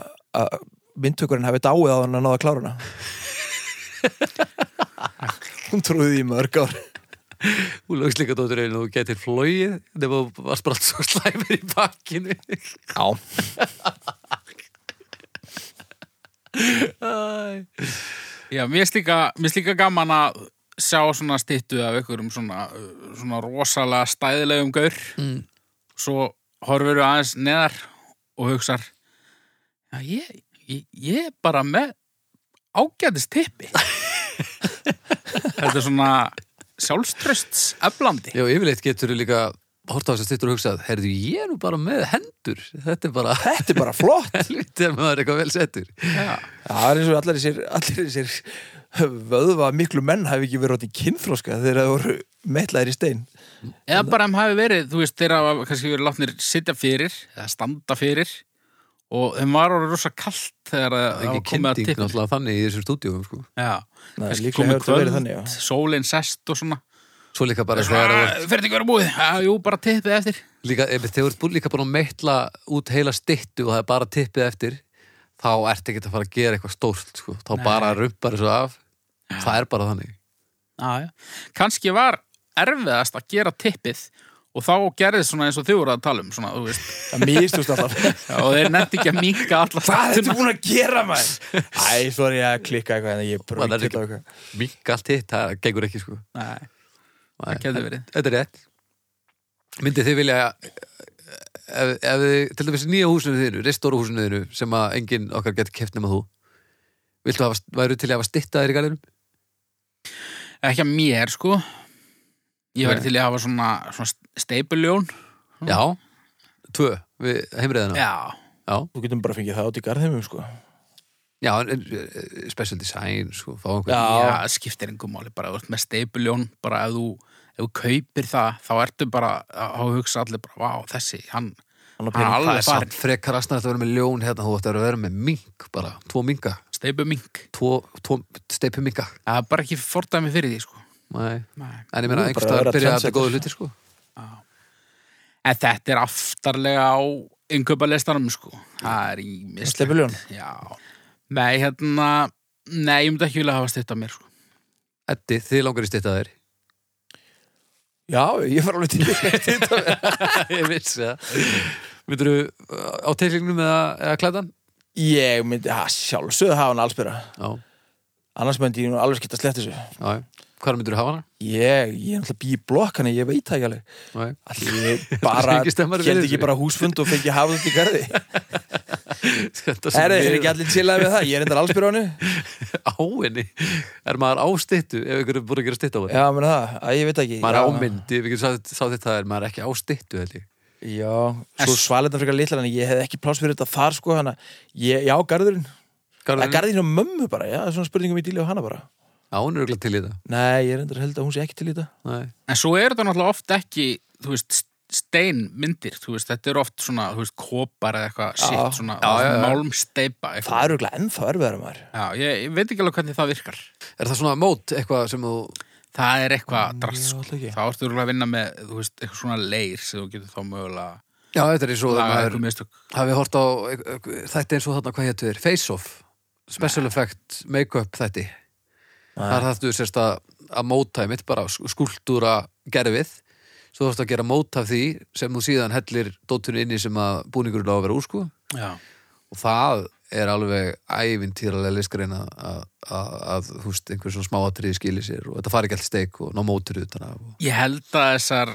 A: að myndtökurinn hefði dáið á hann að náða að klára hana. Hún trúði því í mörg ár.
C: Þú lögst líka dóttur einu og þú getur flóið nema þú varst bara svo slæmur í bakkinu
A: Já.
C: Æ.
D: Já, mér finnst líka, mér finnst líka gaman að sjá svona styttu af einhverjum svona, uh, svona rosalega stæðilegum gaur mm. svo horfur við aðeins neðar og hugsar Já, ég, ég, ég er bara með ágætis tippi Þetta er svona sjálfströsts eflandi
C: Já, yfirleitt getur þú líka hort á þess að stýttur og hugsað, heyrðu, ég er nú bara með hendur þetta er bara [laughs]
A: Þetta er bara flott.
C: helviti að maður er eitthvað vel settur
D: Já,
A: [laughs] Já, Það er eins og allir þessir, allir þessir vöðva miklu menn hafi ekki verið átt í kynþróska þegar það voru metlaðir í stein.
D: eða bara þeim hafi verið, þú veist, þeirra hafa kannski verið látnir sitja fyrir eða standa fyrir og þeim var orðið rosa kalt þegar það
C: Ekki
D: var komið að
C: kynnting
D: tippi
C: náttúrulega þannig í þessum stúdíum sko.
D: Já,
A: Nei,
D: kannski
A: líklega
D: komið
A: hefur þetta verið þannig, já.
D: kvöld, sólinn sest og svona
C: Svo líka bara þegar það var
D: Fyrir þetta ekki vera búið, já, jú, bara tippið eftir
C: líka, ef þið voru búin líka búin að meitla út heila styttu og það er bara tippið eftir þá ertu ekki að fara að gera eitthvað stórt sko. þá bara rumpar þessu af það er bara þannig
D: já, já. Kannski var erfiðast að gera tippið og þá gerðið svona eins og þið voru að tala um svona, þú veist
A: Það mistust alltaf.
D: já, og þeir nefndi ekki að minka alla
A: [laughs] Hvað ertu
D: stundina.
A: búin að gera maður? Æ, svo er ég að klikka eitthvað en ég
C: Maður er
A: brúið til
C: ekki-
A: eitthvað.
C: mink allt hitt, það gengur ekki sko.
D: Nei,
C: Nei,
D: það getur verið
C: þetta er rétt myndið þið vilja ef, ef þið, til dæmis í nýja húsinu þínu restóru húsinu þínu sem að enginn okkar getur keft nema þú viltu hafa, væru til að hafa styttaðir í garðinum?
D: Ekki að mér, sko Ég
C: Nei.
D: væri til í að hafa svona, svona steipuljón
C: Já, tvö við heimriðina
D: Hm. Já,
C: Já.
A: Þú getum bara fengið það átt í garðheimum, sko.
C: Já, en, en, eh, special design sko, fá einhvern
A: Já.
D: já, það skiptir engum máli bara, þú ert með steipuljón bara ef þú, ef þú kaupir það þá ertu bara að hugsa allir bara, vá, þessi, hann
A: Hann á
D: Hann er
A: pening.
C: Það
D: alveg
C: er
D: farin,
C: samt frekar aðstæðast að vera með ljón hérna, þú ætti að vera með mink bara, tvo minka,
D: steipu mink
C: tvo, tvo steipu minka.
D: Það er bara ekki fordæmi fyrir því, sko
C: Nei.
D: Nei.
C: En ég
A: Nú
C: meina,
A: er bara að
C: einhvers staðar
A: vera
C: byrja þetta
A: trendsetter.
C: góðu hluti, sko.
D: En þetta er aftarlega á innkaupa listanum, sko Það er í mislegt
A: Steypuljón?
D: Já Nei, hérna, nei, ég myndi ekki vilja hafa steypt af mér, sko
C: Eddi, þið langar í stytta þér.
A: Já, ég var alveg til í þetta.
C: [laughs] ég vissi það. Myndur þú uh, á teiklingnum eða, eða klædan?
A: Ég myndi, að sjálfsögðu hafa hann allsbyrra.
C: Já,
A: Annars myndi ég nú alveg skipta slett þessu.
C: já, já. Hvar myndur þú hafa hana?
A: Ég, ég er náttúrulega bí í blokk, hann ég veit það ekki alveg.
C: Nei.
A: Allir ég bara,
C: ekki stemmar við
A: held
C: þessu.
A: ekki bara húsfund og fengi hafa þetta í
C: [laughs]
A: garði.
C: [laughs] Þetta sem
A: Er, er
C: við-
A: ekki allir chillað við það? Ég er endar allsbyrra hannu.
C: [laughs] á henni. Er maður á styttu ef ykkur er búin að gera stytta á henni?
A: Já, menn það, að ég veit ekki.
C: Maður
A: Já.
C: er á myndi, ef ykkur sá, sá þetta, er maður ekki á styttu, held ég.
A: Já, svo svalindan frekar litlar en ég hef ekki pláss fyrir þetta þar sko hana. Ég, já, garðurinn.
C: Garðurinn?
A: Garðurinn, garðurinn og mömmu bara, já, það er svona spurningum í díli á hana bara.
C: Já, hún er örugglega til í þetta.
A: Nei, ég er endur held að hún sé ekki til í þetta.
C: Nei.
D: En svo er þetta náttúrulega oft ekki, þú veist, steinmyndir, þú veist, þetta er oft svona, þú veist, kopar eða eitthvað sitt, svona,
C: já, já.
D: málmsteypa
A: Það
D: eitthvað.
A: er auðvitað ennþá erfiðar maður.
D: Já, ég, ég veit ekki alveg hvernig það virkar.
C: Er það svona mót eitthvað sem þú
D: Það er eitthvað drast,
A: já,
D: sko.
A: ætla ekki.
D: Þá ertu örugglega að vinna með, þú veist, eitthvað svona leir sem þú getur þá mögulega
C: Já, þetta er eins og
D: laga
C: maður
D: eitthvað mistök.
C: hafi hort á þetta eins og þarna hvað hétu þér, Face Off Special Effect Make-up þætti Þar þarftu sérst að, að móta mitt bara sk- skúltúra gerfið Svo þarftu að gera mót af því sem þú síðan hellir dóttunni inni sem að búningurinn á að vera úr sko
D: Já.
C: og það er alveg ævintýralega listgrein að, að, að, að þú veist, einhver svona smáatriði skili sér og þetta fari ekki allt steik og ná mótur utan af og...
D: Ég held að þessar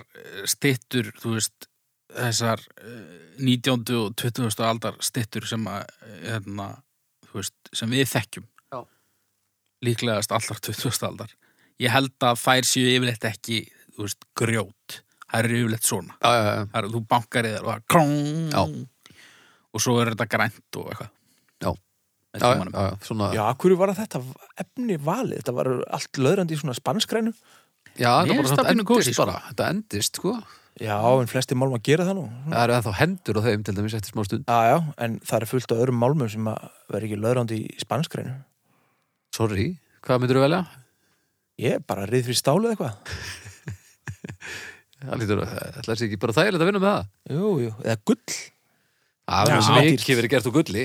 D: stittur, þú veist, þessar eh, 19. og 20. aldar stittur sem að, eh, hérna, þú veist, sem við þekkjum.
C: Já.
D: Líklegast allar 20. aldar. Ég held að þær séu yfirleitt ekki, þú veist, grjót. Það eru yfirleitt svona.
C: Já, já, já,
D: Það eru, þú bankar í þær og það er krong. Já. Og svo er þetta grænt og eitthvað.
C: Já.
D: Með
C: já, já,
D: tímanum.
C: já, svona, já,
A: Já, af hverju var þetta efni valið? Þetta var allt löðrandi í svona spanskrænu.
D: Mér
C: þetta bara
D: finnst það
C: svona
D: pínu
C: endist
D: kósí, sko.
C: bara, þetta endist, sko
A: Já, en flesti málma gera það nú.
C: Það eru ennþá hendur á þeim til dæmis eftir smá stund
A: Já, já, en það er fullt af öðrum málmum sem að vera ekki löðrandi í spanskrænu.
C: Sorry, hvað myndur þú velja?
A: Ég er bara rið fyrir stálið eitthvað.
C: Það lítur að það er ekki bara þægilegt að vinna með það.
A: Jú, jú, eða gull
C: Það
A: Já,
C: verður
A: það er
C: mikið
A: dýrt.
C: verið gert úr gulli.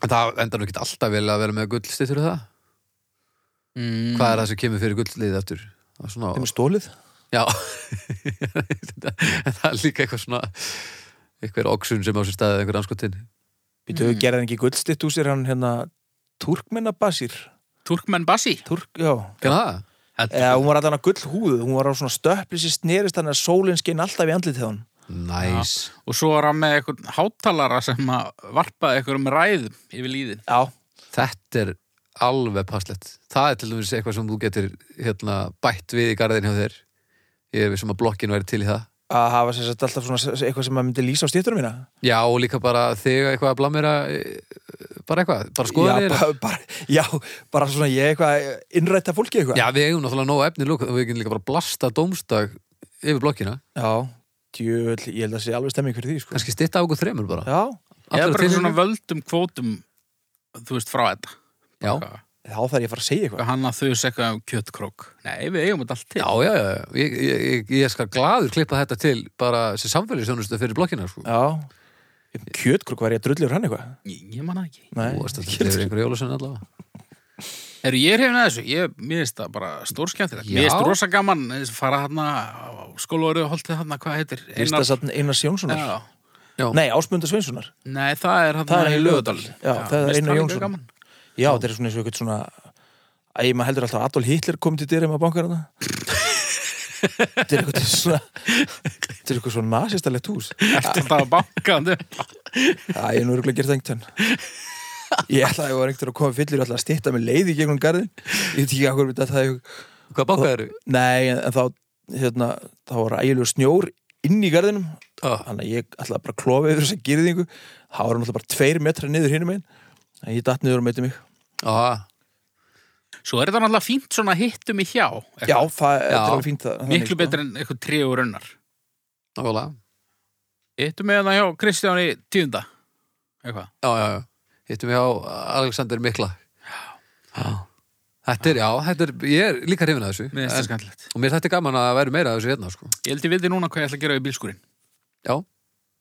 C: En það endar nú ekki alltaf vel að vera með gull, stýttur það?
D: Mm.
C: Hvað er það sem kemur fyrir gullið aftur? Það er svona...
A: Þeim er stólið
C: Já. [laughs] en það er líka eitthvað svona... Eitthvað oxun sem á sér staðið einhver anskotin.
A: Býtu, mm. gerði hann ekki gullstitt úr sér hann hérna Turkmenna Basir
D: Turkmen Bassi?
A: Turk, já
C: Hvað er það?
A: Eða hún var allan að gull húðu Hún var á svona stöplis í snerist hann að sólinn skein alltaf í andlitið á hann
C: Næs.
D: Og svo var hann með eitthvað hátalara sem að varpaði eitthvað um ræðum yfir líðin.
A: Já,
C: Þetta er alveg passlegt. Það er til dæmis eitthvað sem þú getur hérna, bætt við í garðin hjá þér. Ég er við sem að blokkin væri til í það.
A: að hafa sem sagt alltaf svona eitthvað sem maður myndi lýsa á stýttunum mína
C: Já, og líka bara þegar eitthvað að blamera, eh, bara eitthvað, bara skoða
A: já,
C: þér.
A: bara, bara, já, bara svona ég eitthvað innrætta fólki eitthvað
C: Já, við eigum náttúrulega nóg efni lúk og við getum líka bara blasta dómstag yfir blokkina.
A: já djöfull, ég held að sé alveg stemming fyrir því sko.
C: Kannski stitta á okkur þremur bara.
A: Já,
D: Eða
C: Allir til
D: bara eitthvað
C: svona...
D: svona völdum kvótum, þú veist, frá þetta.
C: Já.
D: Hvað-
A: þá þarf ég að fara að segja eitthvað
D: Hvað hann að þau eitthvað um kjötkrók? Nei, við eigum þetta allt til.
C: Já, já, já, já. Ég, ég, ég, ég skal gladur klippa þetta til bara sem samfélagsjónustu fyrir blokkina, sko.
A: Já, kjötkruk var ég að drullur hann eitthvað
D: Ég, ég manna ekki.
A: Nei,
C: Þú veist að þetta er einhverju jólusun allavega.
D: Eru ég er hefna þessu? Ég, mér finnst það bara stórskemmtilegt.
C: Já.
D: Mér finnst rosa gaman að fara hann á skólaverið og holtið hann hvað heitir?
A: Einar... Einars Jónssonar
D: Já.
A: Nei, Ásmundar Sveinssonar
D: Nei, það er hann
A: Það er í
D: Laugardal.
A: Laugardal. Já, það er
D: mér finnst
A: Einar
D: líka
A: Jónsson.
D: gaman.
A: Já, þetta er svona eins og eitthvað svona Æ, maður heldur alltaf að Adolf Hitler kom til dyrum að bankar hana Þetta er eitthvað svona Þetta er eitthvað svona nasistalegt hús
D: Ertu alltaf að banka hann
A: Æ, ég nú er ekki að gera það einhvern Ég ætlaði að ég var einhvern að koma fyllir og ætlaði að stýtta með leið í gegnum garðin Ég veit ekki að hverju þetta það
C: Hvað bankaður?
A: Nei, en, en þá, hérna, þá var ægjulegu snjór inn í garðinum
C: Ah.
A: Þannig að ég ætlaði bara að klofa yfir þessa girðingu Það var náttúrulega bara tveir metra niður hinum einn En ég datt niður og meiti mig
C: Ah.
D: Svo er þetta náttúrulega fínt svona hittum í hjá. eitthvað.
A: Já, það þetta
C: Já.
A: er alveg fínt það þannig,
D: Miklu
A: sko.
D: betur en eitthvað tré og runnar.
C: Nákvæmlega.
D: Hittum við hann hjá Kristjáni tíunda. Eitthvað.
C: Já, já, já. Hittum við á Alexander Mikla. Já. Þetta er, já, þetta er, ég er líka hrifin að þessu.
A: Eh.
D: Mér finnst það
C: En-
D: skemmtilegt.
C: Og mér þetta er gaman að vera meira að þessu hérna, sko.
D: Ég held ég vildi núna hvað ég ætla að gera í bílskúrin.
C: Já.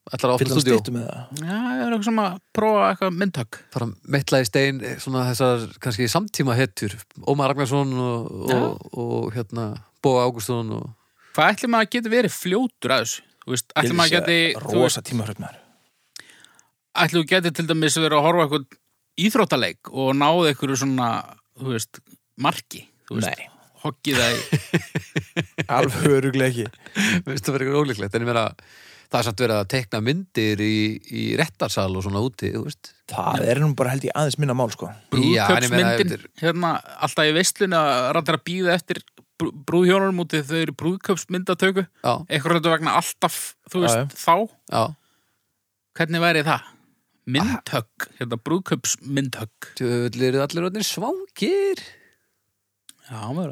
C: Ætlar að
A: Fylla
C: opna
A: hann
C: stúdíó.
A: styttu með það
D: Já, ég er eitthvað sem að prófa eitthvað myndtak.
C: Fara mittla í stein, eh, svona þessar kannski samtíma hettur. Ómar Ragnarsson og, og, og hérna, Bóa Ágústsson og...
D: Hvað ætlum maður að geta verið fljótur að þessu? Þú veist, ætlum maður að geti, þú veist,
A: Rosa tímahraut maður
D: ætlum þú geti til dæmis verið að horfa eitthvað íþróttaleik og náðu eitthvað svona, þú veist, marki, þú veist,
A: Nei,
D: hoggið það í,
A: alveg öruglega
D: [laughs]
A: ekki
C: Mér finnst það verið eitthvað ólíklegt, en ég meina, það er samt verið að tekna myndir í, í réttarsal og svona úti, þú veist.
A: Það er nú bara held ég aðeins minna mál sko
C: Já, en ég meina,
D: brúðköpsmyndin, hérna, alltaf í veistlun að rættar að býða eftir brú, brúðhjónunum út í þau eru brúðköpsmyndatöku,
C: Já,
D: eitthvað hlutu vegna alltaf, þú
A: Já,
D: veist, þá,
C: já.
D: hvernig væri það?
C: Ah.
D: Myndhögg, hérna, brúðköpsmyndhögg.
C: Tjöfull eru allir orðnir svangir.
D: Já, maður,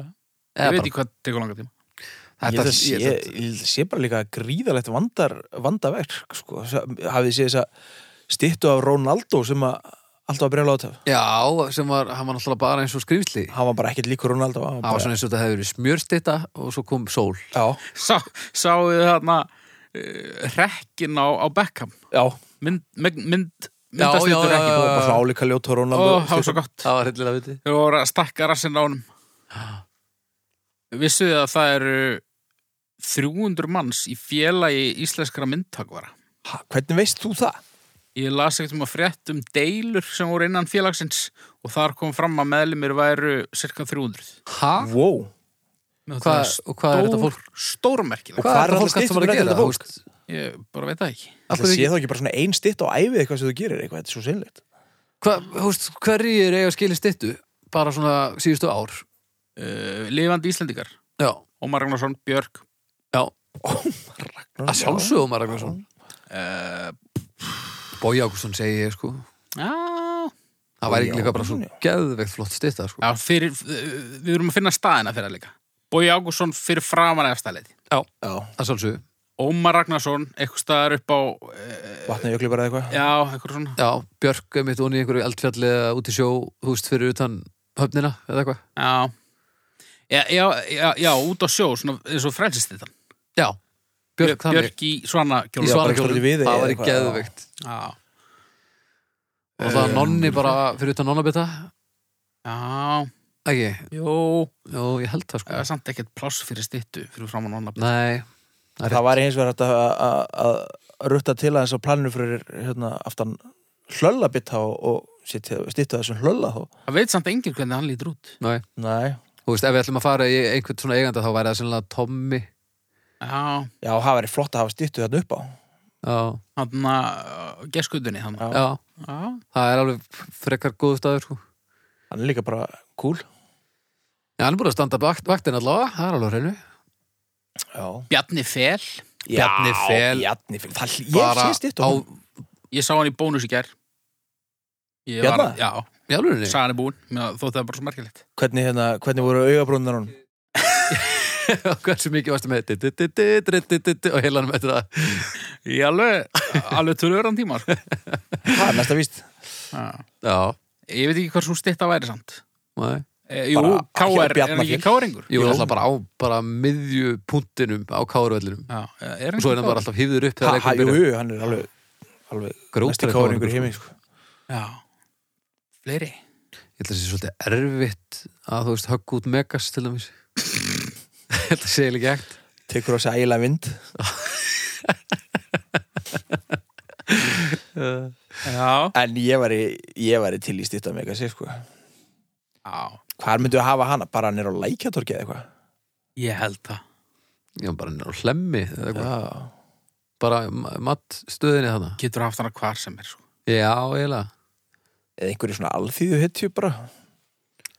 C: Eða
D: ég
C: bara-
D: veit ekki hvað tekur langa tíma.
A: Ég held
C: Þetta-
A: að sé,
C: ég
A: ég
C: held að-
A: held að sé bara líka gríðalegt vandar, vandaverk sko. Sa- Hafið þið séð þess að stýttu af Ronaldo sem að alltaf að brjóla átaf
C: Já, sem var, hann var náttúrulega bara eins og skrýfsli
A: Hann var bara ekkert líkur Ronaldo hann
C: Hann var
A: bara,
C: svona eins og þetta hefur verið smjörstita og svo kom sól
A: Já,
D: Sá, sáðu þið þarna uh, rekkin á, á Beckham,
A: já,
D: mynd, mynd, mynd
C: Já, já,
D: myndastýttur
C: já,
D: rekkin.
C: já, já.
A: bara svona álíka ljóta
D: Ó,
A: Ronaldo
D: það var svo
A: Stefán.
D: gott.
C: Það var hryllilega viti
D: Þeir voru að stakka rassinn á honum Vissuð þið að það eru 300 manns í félagi íslenskra myndtakvara
A: Ha, Hvernig veist þú það?
D: Ég las ekkert um að frétt um deilur sem voru innan félagsins og þar kom fram að meðlumir væru cirka 300
C: Hæ?
A: Wow.
D: Mér
C: Hva,
D: þótti
C: og hvað er þetta
D: það
C: fólk?
D: Stórmerkileg
A: hvað
C: Hvað
A: er
C: er þetta
A: allir
C: fólk allt
A: styttur
C: sem var að
A: með
C: gera?
A: þetta fólk?
C: þú veist?
D: Ég bara veit það ekki
C: Af
A: Það
C: hverju
A: sé
C: ekki-
A: þá ekki bara svona ein stytt á æfið eitthvað sem þú gerir eitthvað, þetta er svo sinnlegt
C: Hvað, þú veist, hverjir eiga skilið styttu bara svona síðustu ár
D: uh, Lifandi Íslendingar
C: Já,
D: Ómar Ragnarsson, Björk
C: já,
A: Ragnar,
C: að sjálfsögum að Ragnarsson
A: Eh,
D: uh,
C: Bói Ágústsson segi ég sko
D: Já
C: Það
A: Bogi
C: væri líka bara svo
A: Ágústsson,
C: geðveikt flott stytta sko.
D: Já, fyrir, við erum að finna staðina fyrir það líka Bói Ágússon fyrir framan efstæðleiti
A: Já,
C: Það sjálfsögum,
D: Ómar Ragnarsson, eitthvað staðar upp á eh,
A: vatnajökli bara eða eitthvað
D: já, eitthvað svona
C: já, Björk mitt onni í einhverju eldfjalli eða út í sjó, þú veist, fyrir utan höfnina eða eitthvað
D: já. já, já, já, já, út á sjó, svona eins og frelsistittan
C: Já, Björk,
D: Björk,
C: þannig
D: Björk í svona
C: í
A: Já,
D: kjóla
A: bara
C: svarakjólum,
A: svolítið við þig
C: það
A: eða Eh.
C: var í
A: eitthvað,
C: geðveikt
D: Já,
C: og það nonni bara fyrir utan nonnabita
D: já,
C: ekki,
D: jú
C: jú, ég held það
D: Það
A: Eh.
C: sko
D: er samt ekkert pláss fyrir stittu fyrir framann onnabit
C: Nei,
A: það var hins vegar hægt að, að, að rutta til aðeins á planinu fyrir hérna, aftan hlöllabitt og, og stýttu þessum hlölla þá
D: Það veit samt enginn hvernig hann lítur út
C: nei,
A: Nei,
C: þú veist, ef við ætlum að fara í einhvern svona eiganda þá væri það sennilega Tommy
D: Já,
A: já, það væri flott að hafa stýttu þarna upp á
C: Já,
D: hann að geskutunni hann
A: Já.
C: já,
D: uh, Já,
C: það er alveg frekar góðu staður sko
A: Hann er líka bara cool
C: Já, hann er búin að standa vakt, vaktin allavega, það er alveg á hreinu
A: Já,
D: Bjarni Fel
C: Bjarni Fel.
A: Bjarni Fel. Það, ég sé hérna. stýttu á...
D: Ég sá hann í bónus í gær Ég
A: Bjarna?
D: var- Já,
A: [laughs]
C: Jálfurinni?
D: sagan er búin Mér þótti það bara svo merkilegt
A: hvernig, hérna, hvernig voru augabrúnar hún
C: Hversu mikið varstu með dit, dit, dit, dit, dit, dit, dit, og heilanum eftir það
D: Ég alveg, alveg tölvöran tíma
A: [laughs]
D: sko.
A: Það er næsta [laughs] víst
D: Já.
C: Já,
D: Ég veit ekki hvað svo stitta væri samt
C: nei
D: e, Jú,
A: Bara
D: KR,
A: hjá
D: er
A: Bjarna
D: hann ekki
A: Fel.
D: KR-ingur?
C: Jú, hann er alltaf bara á bara miðju punktinum á kárvellinum
D: Já, er
C: og
D: hann
C: svo er hann
D: ekki
C: bara alltaf hýður upp
A: ha,
C: þegar
A: ha,
C: leikurinn
A: Jú,
C: byrjar.
A: jú, hann er alveg, alveg næsti
C: Grótari
A: káringur
C: KR-ingur,
A: heimi
C: sko.
A: sko.
D: Já, fleiri
C: Ég held að það sé svolítið erfitt að þú veist högg út megas til dæmis [laughs] Ég held að það sé eiginlega ekki egt
A: Tekur á sig ægilega vind
D: Já,
A: En ég væri, ég væri til í stýttu að mega sig sko.
D: já
A: Hvar myndu að hafa hana? Bara hann er á lækjatorki eða eitthvað?
D: ég held það
C: Já, bara hann er á hlemmi eða eitthvað.
A: Já,
C: bara matt stöðinni þarna
D: Getur haft hana hvar sem er sko.
C: Já, eiginlega
A: eða einhverju svona alþýðu hitju bara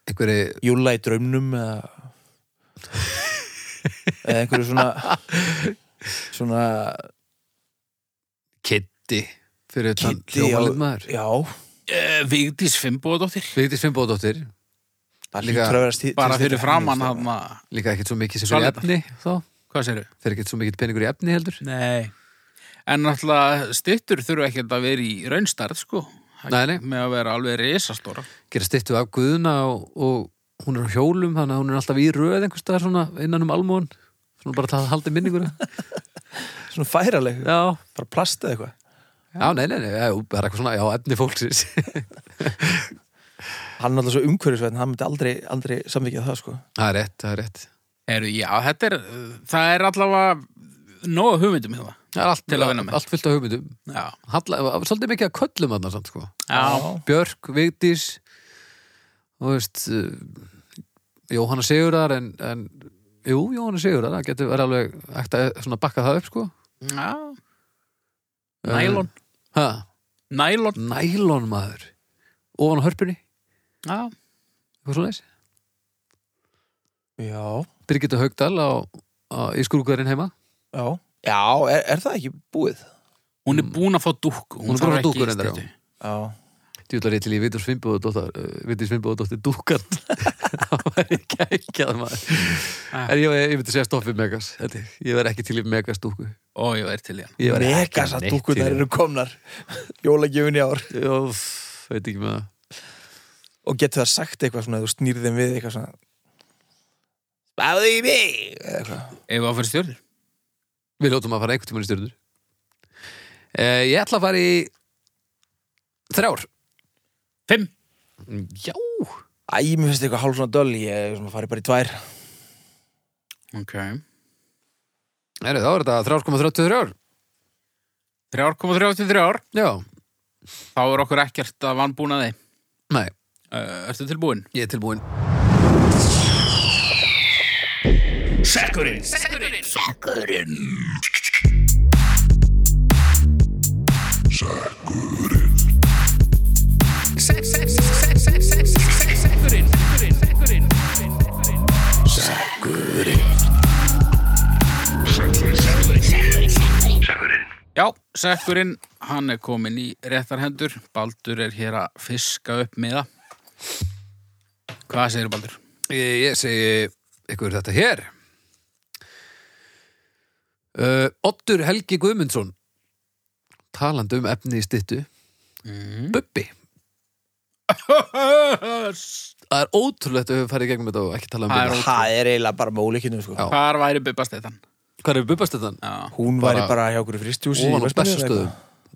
C: einhverju,
A: Júla í draumnum eða eða einhverju svona svona
C: Kitty fyrir utan
A: Kiddi á-
C: hljómalinn maður
A: já,
D: e, Vigdís Fimboðdóttir
C: Vigdís Fimboðdóttir,
A: það
C: Líka
A: hlýtur að vera stí- til
D: Bara
A: sko.
D: fyrir
A: stýttu
D: framann
A: henni,
D: hann
C: líka ekkert svo mikið sem fyrir
D: Svalirnar.
C: efni þá,
D: Hvað sérðu?
C: fyrir ekkert svo mikið peningur í efni heldur
D: Nei En náttúrulega stittur þurfa ekkert að vera í raunstærð sko
C: Nei, nei.
D: Með að vera alveg risastóra
C: gera styttu af Guðuna og, og hún er á hjólum þannig að hún er alltaf í röð einhvers staðar svona innan um almóðun svona bara til að halda minningur já,
A: sko. svona færaleg,
C: já,
A: bara plast eða eitthvað
C: nei, nei, nei, já, bara eitthvað svona já, efni fólksins [laughs]
A: hann er alltaf svo umhverfisvæðin, hann myndi aldrei, aldrei samvikið það sko
C: það er rétt, það er rétt
D: Heru, já, þetta er, það er allavega nóg af hugmyndum hérna.
C: það er allt,
D: Til að vinna með.
C: allt fullt af hugmyndum
D: Já,
C: Halla, svolítið mikið að köllum þarna samt sko
D: já,
C: Björk, Vigdís þú veist uh, Jóhanna Sigurðar en, en jú, Jóhanna Sigurðar það getur verið alveg hægt að svona bakka það upp sko
D: já. Eh. Nælon,
C: Eh, ha,
D: nælon,
C: nælon maður ofan á hörpunni,
D: já,
C: eitthvað svona
A: já,
C: Birgitta Haugdal á, á, í skrúkarinn heima
A: já, já er, er það ekki búið?
D: hún er búin að fá dúkku,
C: Hún er búin að fá
D: þarf ekki
C: dúkku reyndar, já.
D: styttu.
A: já,
C: djúlar ég til í uh, Vitur Svimbóðdóttar Vitur Svimbóðdóttir dúkar [laughs] það væri kækjað maður
D: Ah.
C: en ég, ég myndi segja stoppið Megas held ég, ég verð ekki til í Megas dúku
D: Ó, ég verð til í hann
C: ég væri ekki
A: megas að
C: neitt til í
A: dúkunar
C: hana.
A: eru komnar jólagjöfun í ár
C: Jóf, veit ekki með það
A: og getur það sagt eitthvað svona, þú snýrð þeim við eitthvað svona Báðu í mig eða eitthvað
D: Ef að fyrir stjórnir
C: Við ljótum að fara einhvern tímann í stjörnur uh, Ég ætla að fara í Þrjár
D: Fimm,
C: Já
A: Æ, mér finnst eitthvað hálf svona döl Ég svona farið bara í tvær
D: ok
C: Heru, Þá er þetta 3,33
D: 3,33
C: Já,
D: Þá er okkur ekkert að vannbúnaði
C: nei,
D: uh, Ertu tilbúin?
C: ég er tilbúin
B: Sekkurinn
D: Já, sekkurinn, hann er komin í réttarhendur Baldur er hér að fiska upp með það Hvað segir Baldur?
C: Ég, Eh, ég segi ykkur þetta hér uh, Oddur Helgi Guðmundsson Talandi um efni í styttu Bubbi það er ótrúlegt að við farið í gegnum þetta og ekki tala um
D: Það er
C: Bubba.
A: Það er eiginlega bara með ólíkinum sko.
C: Já.
D: Hvar væri Bubba Steitan?
C: Hvað er bubbastöðan?
D: Já,
A: Hún
C: Bara-
A: væri bara hjá okkur í fristjúsi
C: Ofan á Bessastöðum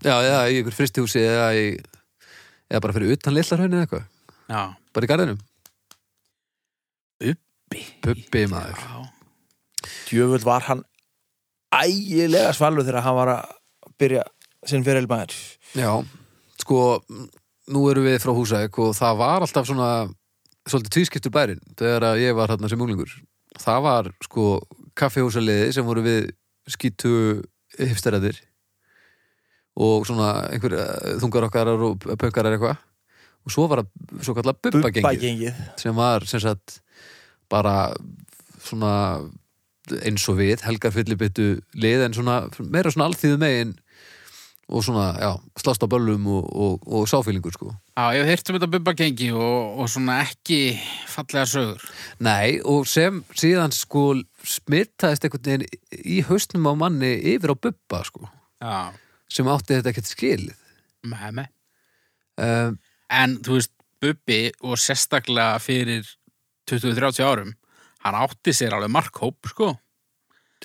C: Já, já, í ykkur fristihúsi eða, í, eða bara fyrir utan Lillarhraun eða eitthvað
D: já
C: Bara í garðinum
D: Bí.
C: Bubbi maður
D: Já,
A: Djöfull var hann ægilega svalur þegar hann var að byrja sinn fyrir elmaður
C: Já, sko, nú erum við frá Húsæk og það var alltaf svona svolítið tvískiptur bærin þegar að ég var þarna sem unglingur Það var sko kaffihúsaliði sem voru við skýtu hipsteræðir og svona einhver þungarokkarar og pönkarar eitthvað og svo var það svo kallar bubbagengið
A: Bubbagengið
C: sem var sem sagt bara svona eins og við, helgar fyllibittu lið en svona meira svona alþýðu megin og svona, já, slást á böllum og, og, og sáfýlingur sko
D: já ég hef heyrt um þetta Bubba gengi og, og svona ekki fallega sögur
C: Nei, og sem síðan sko smittaðist einhvern veginn í hausnum á manni yfir á bubba sko
D: Já,
C: sem átti þetta ekkert skilið
D: með með
C: um,
D: En þú veist, Bubbi og sérstaklega fyrir 20-30 árum hann átti sér alveg markhóp sko.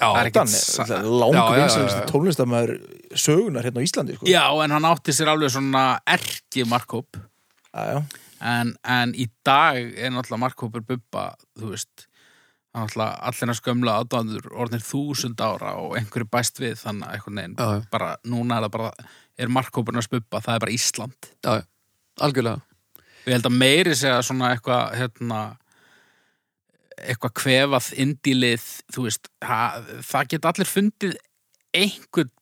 D: Það er ekkert sa-
A: Lángu
C: Já, já, já, já.
A: vinsælstu tónlistamæður sögunar hérna á Íslandi sko.
D: Já, en hann átti sér alveg svona erki markhóp
A: Já, já.
D: en, en í dag er náttúrulega markhópur Bubba þú veist hann náttúrulega allir hans gömla aðdóðandur orðin þúsund ára og einhverju bæst við þannig að einhvern veginn
C: Já, já.
D: bara núna er það bara er markhópurinn hans Bubba, það er bara Ísland
C: já, já, algjörlega
D: Ég held að meiri segja svona eitthvað hérna, eitthvað kvefað indílið, þú veist það, það geta allir fundið einhvern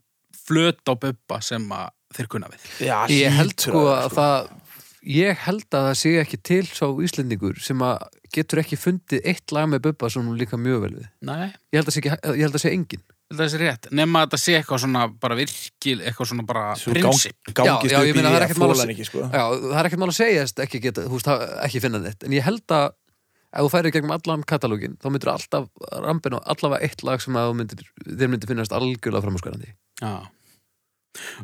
D: flöt á bubba sem að þeir kunna við
A: já
C: Ég held
A: hlýtur
C: sko
A: vera,
C: að það ég held að það sé ekki til sá Íslendingur sem að getur ekki fundið eitt lag með Bubba sem hún líka mjög vel við
D: Nei,
C: ég held að sé, ekki, ég held að sé engin
D: þetta er sér rétt nema að þetta sé eitthvað svona bara virkil eitthvað svona bara
A: Svo
D: prinsip
A: gang- Gangist
C: Já, já, ég
A: upp í
C: meina,
A: því
C: það er
A: að
C: ekkert mál að
A: fólan
C: se-
A: ekki sko.
C: Já, það er ekkert mál að segjast ekki, geta, húst, ekki finna þetta en ég held að ef þú færir í gegnum allan katalógin þá myndir alltaf rampin og allavega eitt lag sem að þú myndir, þeir myndir finnast algjörlega framhúskarandi
D: Já.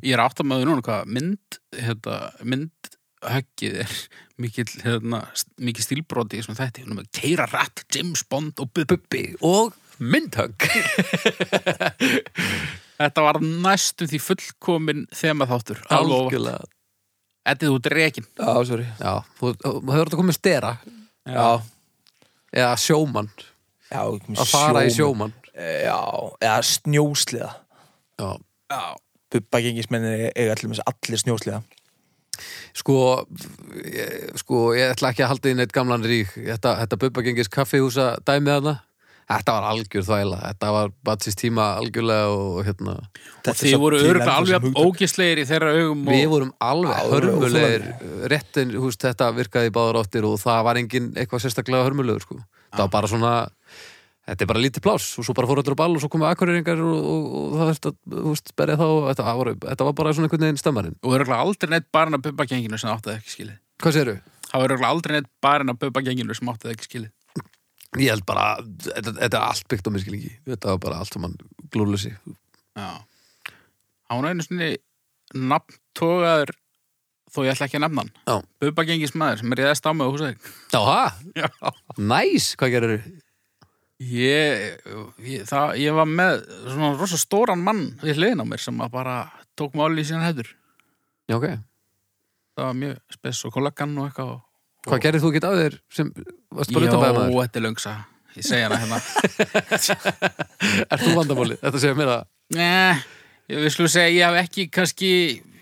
D: Ég er átt að maður núna hvað mynd hérna, myndhöggið er mikil, hérna, st- mikil stílbroti sem þetta, hérna, Keira Ratt, James Bond og Bubbi
C: Bubbi og myndhögg [laughs]
D: Þetta var næstum því fullkomin þema þáttur
C: algjörlega
D: Þetta þú drekin
A: Já, sorry
C: Já, þú, þú hefur þetta komið stera
A: Já,
C: eða sjómann,
A: já
C: að fara í sjómann
A: Já, eða snjósliða
C: Já
D: Já,
A: Bubbagengismennin eiga allir með allir snjósliða
C: sko, ég, sko, ég ætla ekki að halda inn eitt gamlan rík þetta, þetta Bubba gengis kaffihúsa dæmið hana þetta var algjör þvæla, þetta var batsist tíma algjörlega og hérna
D: og þið voru örgulega alveg
A: og...
D: ógisleir í þeirra augum
C: við
D: og,
C: vorum alveg
A: Alveg
C: hörmulegir réttin, húst, þetta virkaði í báðar áttir og það var engin eitthvað sérstaklega hörmulegur sko. það var bara svona þetta er bara lítið pláss og svo bara fór allir á ball og svo komið akkurýringar og, og, og það þurfti að húst, berja þá, þetta, það voru, þetta var bara svona einhvern veginn stemmarinn,
D: og örgulega aldrei neitt barinn af bubbagenginu sem átti það ekki skilið
C: hvað séru?
D: Það var örgulega aldrei neitt barinn af bubbagenginu sem átti það ekki skilið
C: Ég held bara, þetta, þetta er allt byggt á miskilíki Þetta var bara allt saman glúrlösi
D: Já Hann var einu sinni nafntogaður þó ég ætla ekki að nefna hann
C: Já,
D: Bubbagengis maður sem er ég þess á mig og húsæk
C: já, ha?
D: [laughs] Já
C: Næs, hvað gerir þau?
D: Ég, ég, það, ég var með svona rosa stóran mann við hliðin á mér sem að bara tók máli í sína hættur
C: Já, ok
D: það var mjög spes og kollegan og eitthvað og
C: Hvað gerir þú ekki af þér sem varst bara
D: Jó,
C: utanbæða maður?
D: þetta er löngsa Ég segja hana hérna
C: Er þú [laughs] vandamálið? Þetta segir mér að
D: [laughs] Nei, ég vil slú segja Ég haf ekki kannski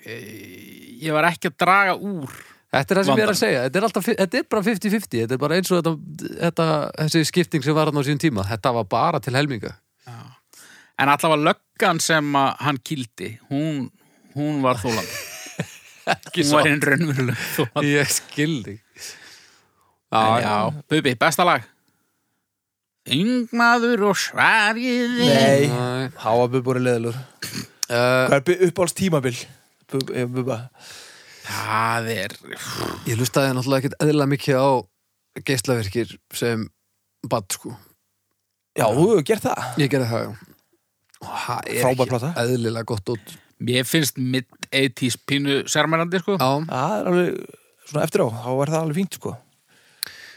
D: eh, Ég var ekki að draga úr
C: Þetta er það sem ég er
D: Vandann.
C: að segja, þetta er, alltaf, þetta er bara 50-50 Þetta er bara eins og þetta, þetta þessi skipting sem var hann á sín tíma Þetta var bara til helminga
D: En allavega löggan sem að hann kildi Hún, hún var
C: [laughs]
D: þólandi Hún var einn raunveruleg þólandi
C: Ég skildi
D: Já,
C: Já,
D: já, Bubi, besta lag Yngmaður og svariði
A: Nei,
C: Nei.
A: háa Bubba voru leðalur
C: Mm. Uh,
A: Hvað er bu- uppáhalds tímabil? Bub- eh, Bubba
D: Það er
C: Ég lustaði náttúrulega ekkert eðla mikið á geislaverkir sem bad sko
A: Já, þú hefur gert það
C: Ég gerði það, já. Og það er
A: Frábær
C: ekki
A: plata.
C: eðlilega gott út.
D: Mér finnst mid-80s pínu sérmærandi sko
C: Já,
A: Það er alveg, svona eftir á, þá er það alveg fínt sko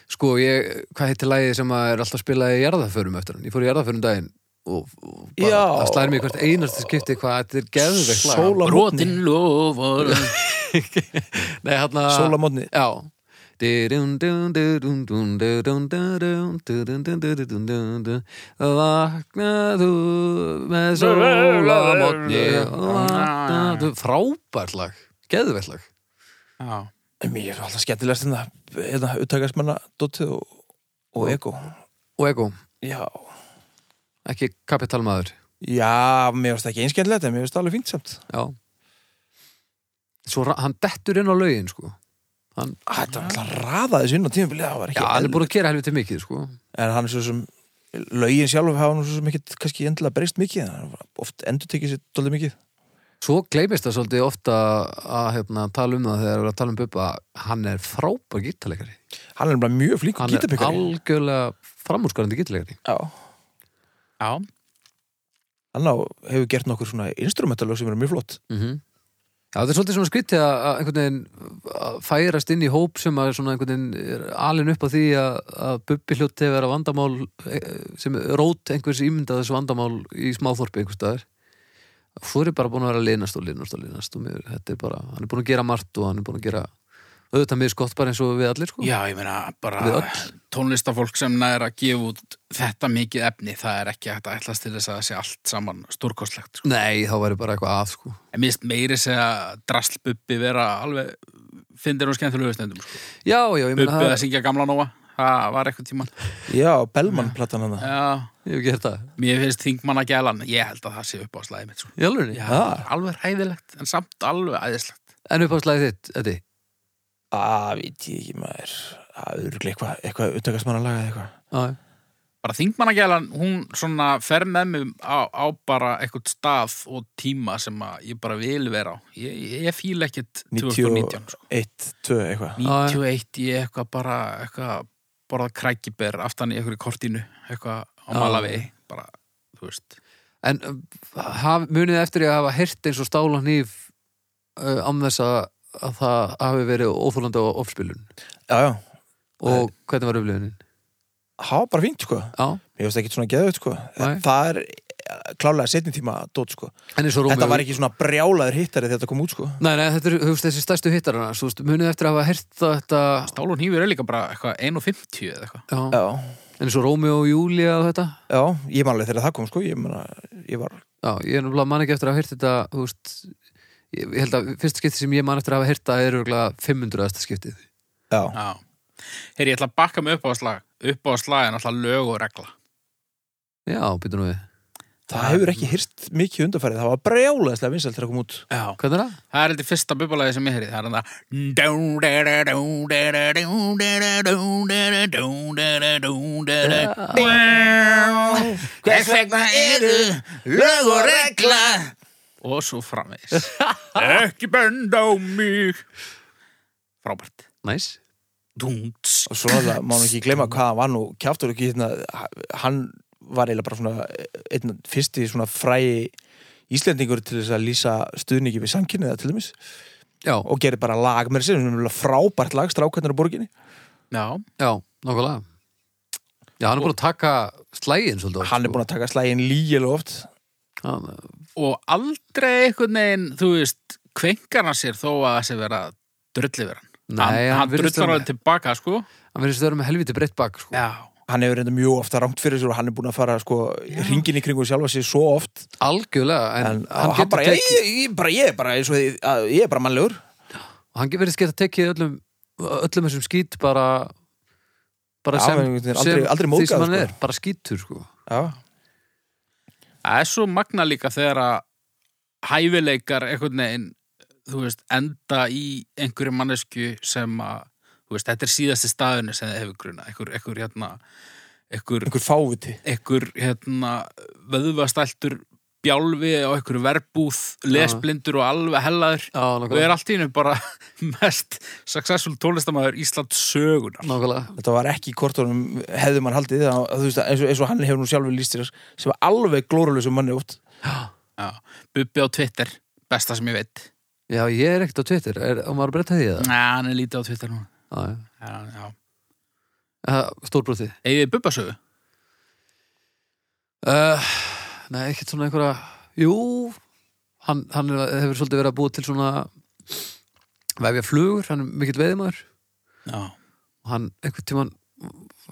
C: sko, ég, hvað heitir lagið sem að er alltaf að spila í jarðaförum eftir hann? Ég fór í jarðaförum daginn og, og bara,
A: Já.
C: það slæðir mig hvert einasta skipti hvað þetta er geðveikt lag.
A: Sól á
D: Brotin
A: mótni
D: lofur
A: [laughs]
C: Nei, hérna...
A: Sól á mótni
C: Já Vaknaðu með sólamotni Vaknaðu Frábært lag, geðveitt lag
D: Já,
A: Mér er alltaf skemmtilegast hérna Hérna, uttækastmanna, Dotti og, og Ego
C: Og Ego,
A: Já
C: ekki kapitalmaður
A: Já, mér finnst það ekki einskjæðilegt en mér finnst það alveg fínt samt
C: Já Svo ra- hann dettur inn á lögin sko hann,
A: Þetta var alltaf raðaði sinna tímabilið það var
C: Já,
A: ekki
C: hann er
A: eðlilegt.
C: búin að gera helviti mikið sko
A: en hann er svo sem lögin sjálf hafa nú svo sem ekkit kannski endilega breyst mikið en hann oft endur tekið sér dólið mikið
C: Svo gleymist það svolítið ofta að hérna, tala um það þegar við erum að tala um Bubba hann er frábær gítarleikari
A: Hann er bara mjög flink
C: hann er
A: gítarbyggari
C: algjörlega framúrskarandi gítarleikari
A: Já,
D: já
A: hann á, hefur gert nokkur svona instrumentalög sem eru mjög flott
C: mm Já, þetta er svolítið svona skrítið að að einhvern veginn að færast inn í hóp sem að svona einhvern veginn er alin upp á því að, að Bubbi hljóti vera vandamál eh, sem er rót einhvers ímyndaðis vandamál í smáþorpi einhvers staðar Svo er ég bara búin að vera að linast og linast og linast og mér, þetta er bara, hann er búin að gera margt og hann er búin að gera auðvitað mér skott bara eins og við allir sko
D: Já, ég meina
C: Við
D: bara
C: öll.
D: tónlistafólk sem næra að gefa út þetta mikið efni, það er ekki hægt að ætlast til þess að það sé allt saman stórkostlegt. Sko.
C: Nei, þá væri bara eitthvað að sko
D: En mér finnst meiri segja draslbubbi vera alveg fyndir og skemmtilega stendum. Sko.
C: Já, já, ég meina
D: Bubbi
C: það
D: að syngja gamla nóa, það var eitthvað tíman.
A: Já, Bellman-platan hann
D: Já,
C: Ég hef ekki gert það
D: mér finnst þingmanna gælan, ég held að það sé upp á slæði mitt. Sko.
C: Í alveg
D: Já, það er alveg hæðilegt, en samt alveg æðislegt.
C: En uppáðslæði þitt, Eddi
A: Á, Ah, veit ég ekki maður Það er eitthvað, eitthvað uttækastmannalaga eða eitthvað
C: Já,
D: Bara þingmanna gælan, hún svona fer með mig á, á bara eitthvað stað og tíma sem að ég bara vil vera á. Ég, ég, ég fíl ekkit 2019, sko.
A: 1, 2, eitthvað
D: 91 í eitthvað bara eitthvað borða krækiber aftan í einhverju kortinu eitthvað á
C: Já.
D: Malavi bara, þú veist
C: En uh, haf, munið þið eftir ég að hafa hirt eins og stála hníf uh, am þess að, að það hafi verið óþólandi á ofspilun
A: Já, já,
C: og hvernig var upplifunin?
A: það var bara fínt sko
C: Já,
A: Mér finnst ekki svona geðut sko
C: Nei.
A: Það er eh, klálega setni tíma dót sko
C: en eins og Rómeó
A: Þetta var ekki svona brjálaður hittari þegar þetta kom út sko
C: Nei, nei, þetta eru hugst, þessi stærstu hittarana Svo veist, munið þið eftir að hafa hirt þetta
D: Stál og hnífur er líka bara eitthvað 1.50 eða eitthvað
C: já,
A: Já,
C: En eins og Rómeó og Júlía og þetta
A: já, ég man alveg þegar það kom sko Ég, mena, ég var,
C: Já, ég er náttúrulega man ekki eftir að hafa hirt þetta þú veist, ég, ég held að fyrsta skipti sem ég man eftir að hafa hirt það er örgulega 500. skiptið
A: já,
D: Já Heyri, ég ætla að bakka mig upp á slag upp á slag er náttúrulega lög og regla
C: Já, býtum nú við
A: það hefur ekki hyrst mikið undanfærið Það var brjálaðislega vinsælt þegar það kom út
D: Já
C: Hvernig er það?
D: Það er eitthvað fyrsta bubbalagi sem ég heyri það er þetta Hvers vegna eru lög og regla og svo
C: [laughs]
D: framvegis Ekki benda á mig Frábært
C: Næs
D: Dúnts
A: Og svo náttúrulega má hann ekki gleyma hvað hann var nú kjaftur ekki hérna Hann var eiginlega bara svona einn fyrsti svona fræi Íslendingur til þess að lýsa stuðningi við sanginniða til dæmis
C: Já,
A: og gerir bara lag með þessi frábært lag, strákarnir á borginni
D: Já,
C: Já, nokkulega Já, hann er búin að taka slægin svolítið sko.
A: Hann er búin að taka slægin lígilega oft
C: að
D: og aldrei einhvern veginn, þú veist, kvenkar hann sér þó að það sé vera drulli vera hann
C: Nei,
D: hann,
C: hann
D: hann
C: virðist
D: drullar
C: vera-
D: alveg tilbaka, sko
C: Hann verðist að vera með helviti breytt bak sko.
D: Já,
A: hann hefur reynda mjög ofta rangt fyrir sér og hann er búin að fara sko ringin í kringu sjálfa sér svo oft
C: Algjörlega En,
A: en
C: hann,
A: hann,
C: getur
A: bara,
C: tekið,
A: ég, ég, bara, ég er bara eins og þið, að, ég er bara mannlegur
C: hann verðist geta tekið öllum, öllum þessum skít bara bara
A: Já,
C: sem,
A: hann er
C: sem
A: aldrei- aldrei
C: því sem
A: móðgaður,
C: hann
A: sko.
C: er, bara skítur sko.
A: já,
D: það er svo magna líka þegar að hæfileikar einhvern veginn, þú veist, enda í einhverju mannesku sem að, þú veist, þetta er síðasti staðinu sem þið hefur gruna, einhver, einhver hérna einhver,
A: einhver fáviti
D: einhver hérna vöðvastæltur bjálfi á einhverju verbúð, lesblindur og alveg hellaður
C: Já,
D: og er
C: nokkulega,
D: allt í hennu bara [laughs] mest successful tónlistamæður Íslands sögunar
C: nokkulega.
A: þetta var ekki hvort honum hefði mann haldið að, að, þú veist, eins, og, eins og hann hefur nú sjálfur líst sér sem var alveg glórulegsum manni oft
D: Já. Bubbi á Twitter, besta sem ég
C: [gasps]
D: veit
C: Já, ég
D: Mm.
C: er ekkert á Twitter er, og maður breytta því það
D: Næ, hann er lítið á Twitter núna
C: Já, já.
D: Já, já.
C: Stórbrotið
D: Eigið þið bubbasögu?
C: uh, Nei, ekkert svona einhverja Jú, hann, hann er, hefur svolítið verið að búa til svona vefja flugur, hann er mikill veiðmaður
D: Já.
C: og hann einhvern tíman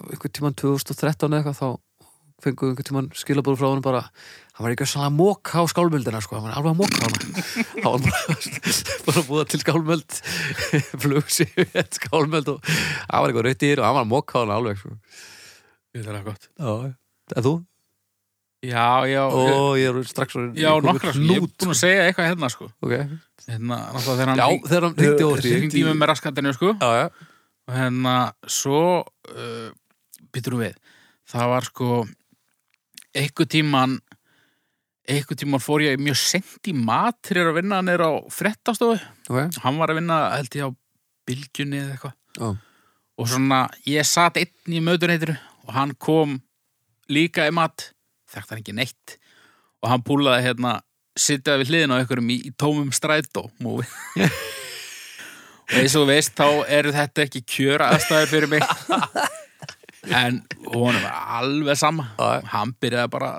C: einhvern tíman 2013 eða eitthvað þá fengu einhvern tíman skilabóru frá hann bara hann var ekki að svona móka á skálmöldina sko, hann var alveg að móka hana hann var bara, [laughs] bara búða til skálmöld [laughs] flugsi við skálmöld og hann var eitthvað rautir og hann var að móka hana alveg sko.
D: Ég þarf að gott.
C: Já, en þú?
D: Já, já.
C: Og ég er strax orðinn-
D: Já,
C: kominn
D: nokkra. Ég er
C: hnút.
D: búin að segja eitthvað hérna, sko.
C: Ok.
D: Hérna, náttúrulega þegar hann
C: Já,
D: hring-
C: þegar hann hringdi og því
D: hringdi í mig með raskatinu, sko.
C: Já, já,
D: Og hérna, svo, uh, býtur við, það var sko, einhver tíman, einhver tíman fór ég mjög sent í mat þegar ég er að vinna hann er á frettastofu.
C: ok
D: Hann var að vinna, held ég, á bylgjunni eða eitthvað.
C: Já,
D: og svona ég satt einn í mötuneytru og hann kom líka í mat þekkti hann ekki neitt og hann púlaði hérna sittjaði við hliðin á einhverjum í, í tómum strætó
C: [laughs]
D: múfi og eins og þú veist þá eru þetta ekki kjöra aðstæður
C: [laughs]
D: fyrir mig en honum var alveg sama
C: Já.
D: hann byrjaði bara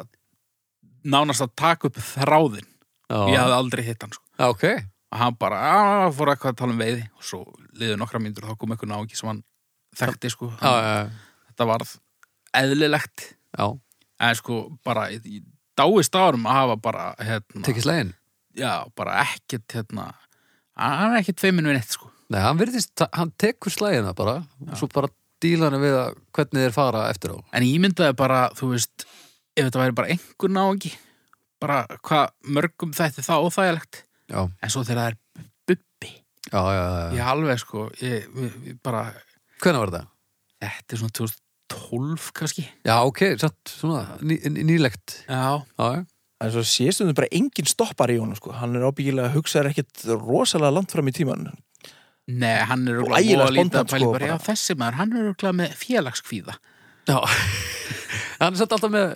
D: nánast að taka upp þráðin ég
C: já,
D: hafði aldrei hitt hann sko
C: já, ok
D: og hann bara "Ah", fór eitthvað að tala um veiði og svo liður nokkra mínútur og þá kom eitthvað náungi sem hann þekkti sko
C: Já, já, já,
D: þetta varð eðlilegt
C: já,
D: en sko bara ég- ég dáist árum að hafa bara hérna,
C: tekið slegin
D: já, bara ekkert hérna, hann er ekkert feimin við neitt sko
C: Nei, hann virðist, hann tekur slægina bara og svo bara díla hann við að hvernig þeir fara eftir á
D: en ég myndaði bara, þú veist ef þetta væri bara einhver náungi bara hvað mörgum þætti það óþægilegt
C: Já,
D: en svo þegar það er bubbi
C: já, já, já,
D: ég alveg sko, ég, ég, ég bara
C: Hvenær var það?
D: þetta er svona 2012 kannski
C: Já, ok, satt svona ný, ný- nýlegt
D: já,
C: Já, já,
A: Það er svo séstundum bara engin stoppar í honum sko. hann er ábyggilega að hugsa ekkert rosalega langt fram í tíman
D: Nei, hann er
A: Og ægilega
D: örugglega voða lítið
A: spontan,
D: að pæla í
A: sko,
D: bara,
A: bara.
D: já, þessi maður, hann er örugglega með félagskvíða.
C: já. [laughs] Hann er satt alltaf með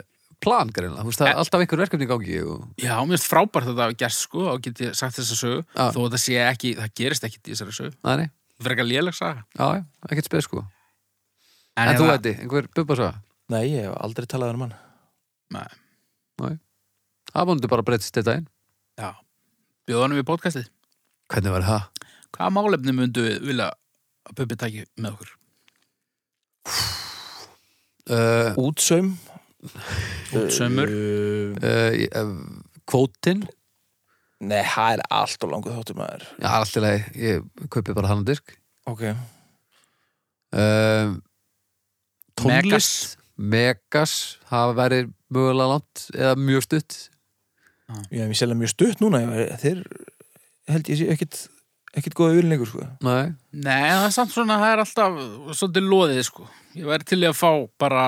C: plan greinlega, þú veist, það er alltaf einhver verkefni í gangi og...
D: Já, mér finnst frábært að þetta hafi gerst, sko, og get ég sagt þessa sögu,
C: Já.
D: þó að það sé ekki, það gerist ekki í þessari sögu.
C: Nei, nei,
D: Það er ekki að léleg saga.
C: já, já, ekkert spes sko En, þú
D: hérna-
C: veit, einhver bubba svo
A: Nei, ég hef aldrei talað um hann
D: Nei,
C: Það búinu bara breytist þetta einn
D: Já, bjóðanum við podcastið.
C: Hvernig var það?
D: Hvaða málefni myndu við vilja að Bubbi taki með okkur?
C: Uh,
A: Útsaum
D: Útsaumur.
A: uh,
C: uh, kvótin
A: Nei, það er allt og langu þóttum maður
C: já, allt í lagi, ég kaupi bara hann að disk
A: Ok
C: uh,
D: Megas.
C: tónlist Megas, það væri mögulega langt eða mjög stutt
A: Ég hef selja mjög stutt núna ég, Þeir held ég sé ekkit ekkit góða ulinleikur sko
C: Nei,
D: Nei, það er samt svona, það er alltaf svolítið loðið, sko. Ég væri til í að fá bara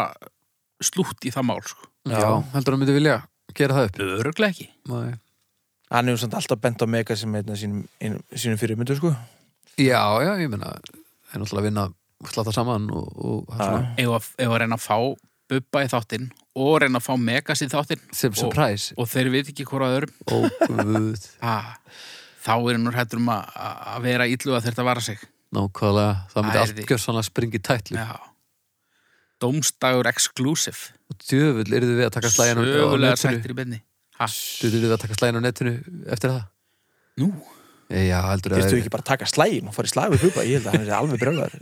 D: slútt í það mál, sko.
C: já, heldur hann myndi vilja gera það upp
D: Örugglega ekki.
C: Nei.
A: Hann hefur samt alltaf bent á Mega sem einna sínum, einum, sínum fyrirmyndu sko
C: Já, já, ég meina það er náttúrulega að vinna og slata saman og, og það svona,
D: Ef að, ef að reyna að fá Bubba í þáttinn og reyna að fá Megas í þáttinn
C: sem
D: og,
C: surprise
D: og þeir veit ekki hvora öðrum
C: og guð,
D: ah, þá er nú hættur um að að vera illu að þetta vara sig
C: [laughs] nákvæmlega það myndi
D: Æ,
C: allt
D: því-
C: gjörsanlega springi tætlu
D: Já Dómstagur exclusive
C: og djöfull eru við að taka slægin á
D: Sögulega
C: netinu
D: sættir í benni
C: Djöfull eru við að taka slægin á netinu eftir það
D: Nú,
C: Já, heldur
A: Þeir
C: að
A: stu ekki bara að taka slægin og fara í slag við hupa Ég held að hann er alveg brjóðar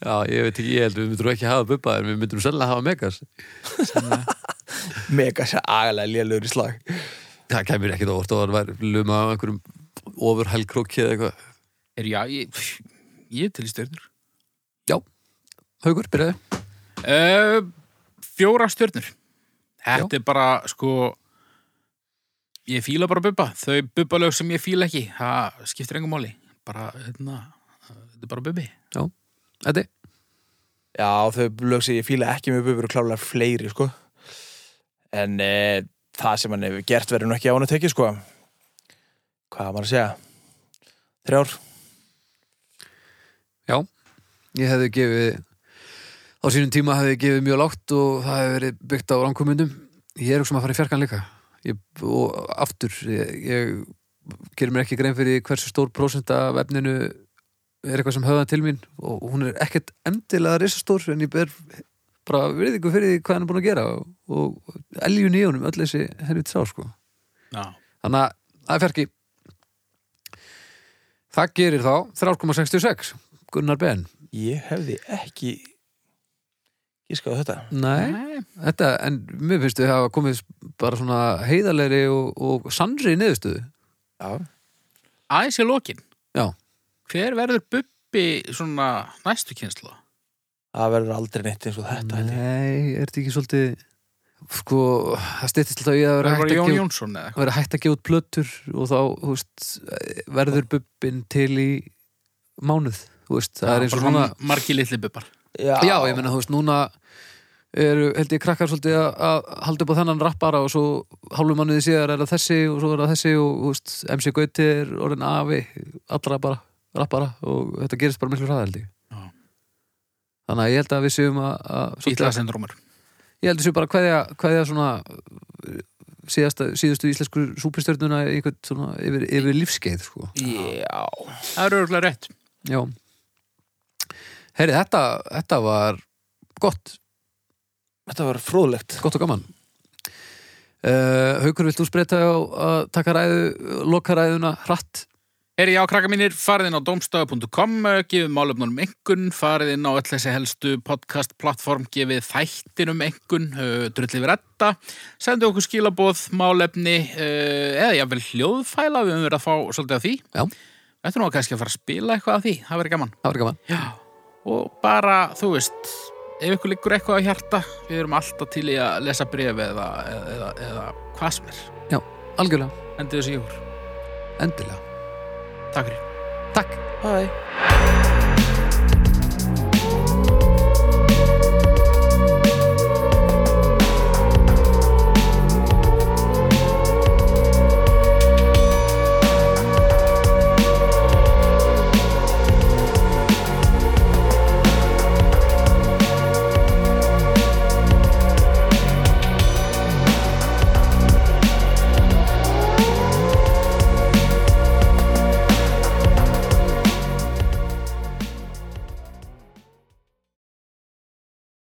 C: Já, ég veit ekki, ég held við myndum ekki að hafa bubba en við myndum sérlega að hafa megas
A: [laughs] Mega sé agalega lélugur í slag
C: Það kemur ekkit óvart og hann var luma af einhverjum ofur helgkróki eða eitthvað
D: er já, ég, pff, ég er til í stjörnur
C: Haukur, byrjaði
D: uh, Fjóra stjörnur Þetta
C: Já.
D: er bara, sko Ég fíla bara bubba Þau bubbalög sem ég fíla ekki Það skiptir engum máli Bara, hérna, þetta er bara bubbi
C: Eddi,
A: Já, þau lög sem ég fíla ekki með bubur og klálega fleiri sko En e, það sem hann hefur gert verður nú ekki á hann að tekið sko Hvað á maður að segja? Þrjár
C: ég hefði gefið á sínum tíma hefði ég gefið mjög lágt og það hefði verið byggt á ránkumundum Ég er auksum að fara í fjarkan líka ég, og aftur, ég, ég gerir mér ekki grein fyrir hversu stór prósent af efninu er eitthvað sem höfða til mín og hún er ekkert endilega risastór en ég ber bara virðingu fyrir því hvað hann er búin að gera og, og eljun í honum öll þessi helvit sá sko
D: Já.
C: þannig að það er fjarki það gerir þá 3,66 Gunnar Ben
A: Ég hefði ekki gískað á þetta
C: Nei,
D: Eh,
C: þetta, en mér finnst við hafa komið bara svona heiðarlegri og, og sannri niðurstöðu
A: Já,
D: Aðeins í lokin.
C: Já.
D: Hver verður Bubbi svona næstu kynslu?
A: það verður aldrei neitt eins og þetta held ég.
C: Nei, er þetta ekki svolítið sko, það styttist alltaf í að vera hægt
D: Verður bara
C: að
D: Jón
C: gefa út-
D: Jónsson eða eitthvað?
C: vera hægt að gefa út plötur og þá, þú veist, verður bubbin til í mánuð, þú veist, það er eins og
D: Bara
C: núna
D: svona margi litli bubbar.
C: Já, ég meina, þú veist, núna eru, held ég, krakkar svolítið að, að halda upp á þennan rappara og svo hálfum manniði síðar er það þessi og svo er það þessi og, þú veist, MC Gauti er orðin afi allra bara, rappara og þetta gerist bara miklu hraða, held ég
D: Já.
C: Þannig að ég held að við séum að, að svolítið
D: Ítla syndrómur.
C: ég heldur sér bara hverja, hverja svona uh, síðasta, síðustu íslensku súpistörnuna í einhvern svona yfir, yfir lífskeið sko.
A: Já,
D: Það eru örgulega rétt.
C: Já Herri, þetta, þetta var gott,
A: þetta var fróðlegt
C: gott og gaman uh, Haukur, vilt þú spreita á að taka ræðu, loka ræðuna hratt?
D: Heri, já, krakka mínir, farið inn á domstafu.com, eh, gefið málefnunum engun, farið inn á öll þessi helstu podcast-plattform, gefið þættinum engun, uh, drullið við retta, sendu okkur skilaboð, málefni, uh, eða jáfnvel hljóðfæla, við höfum verið að fá svolítið af því.
C: Já,
D: Þetta er nú kannski að fara að spila eitthvað af því, það verið gaman.
C: það var gaman
D: Já, og bara, þú veist, ef ykkur liggur eitthvað á hjarta, við erum alltaf til í að lesa bref eða, eða, eða, eða hvað sem er.
C: Já, algjörlega,
D: Endið þessi í okkur.
C: endilega
D: Takk fyrir.
C: Takk
A: Bye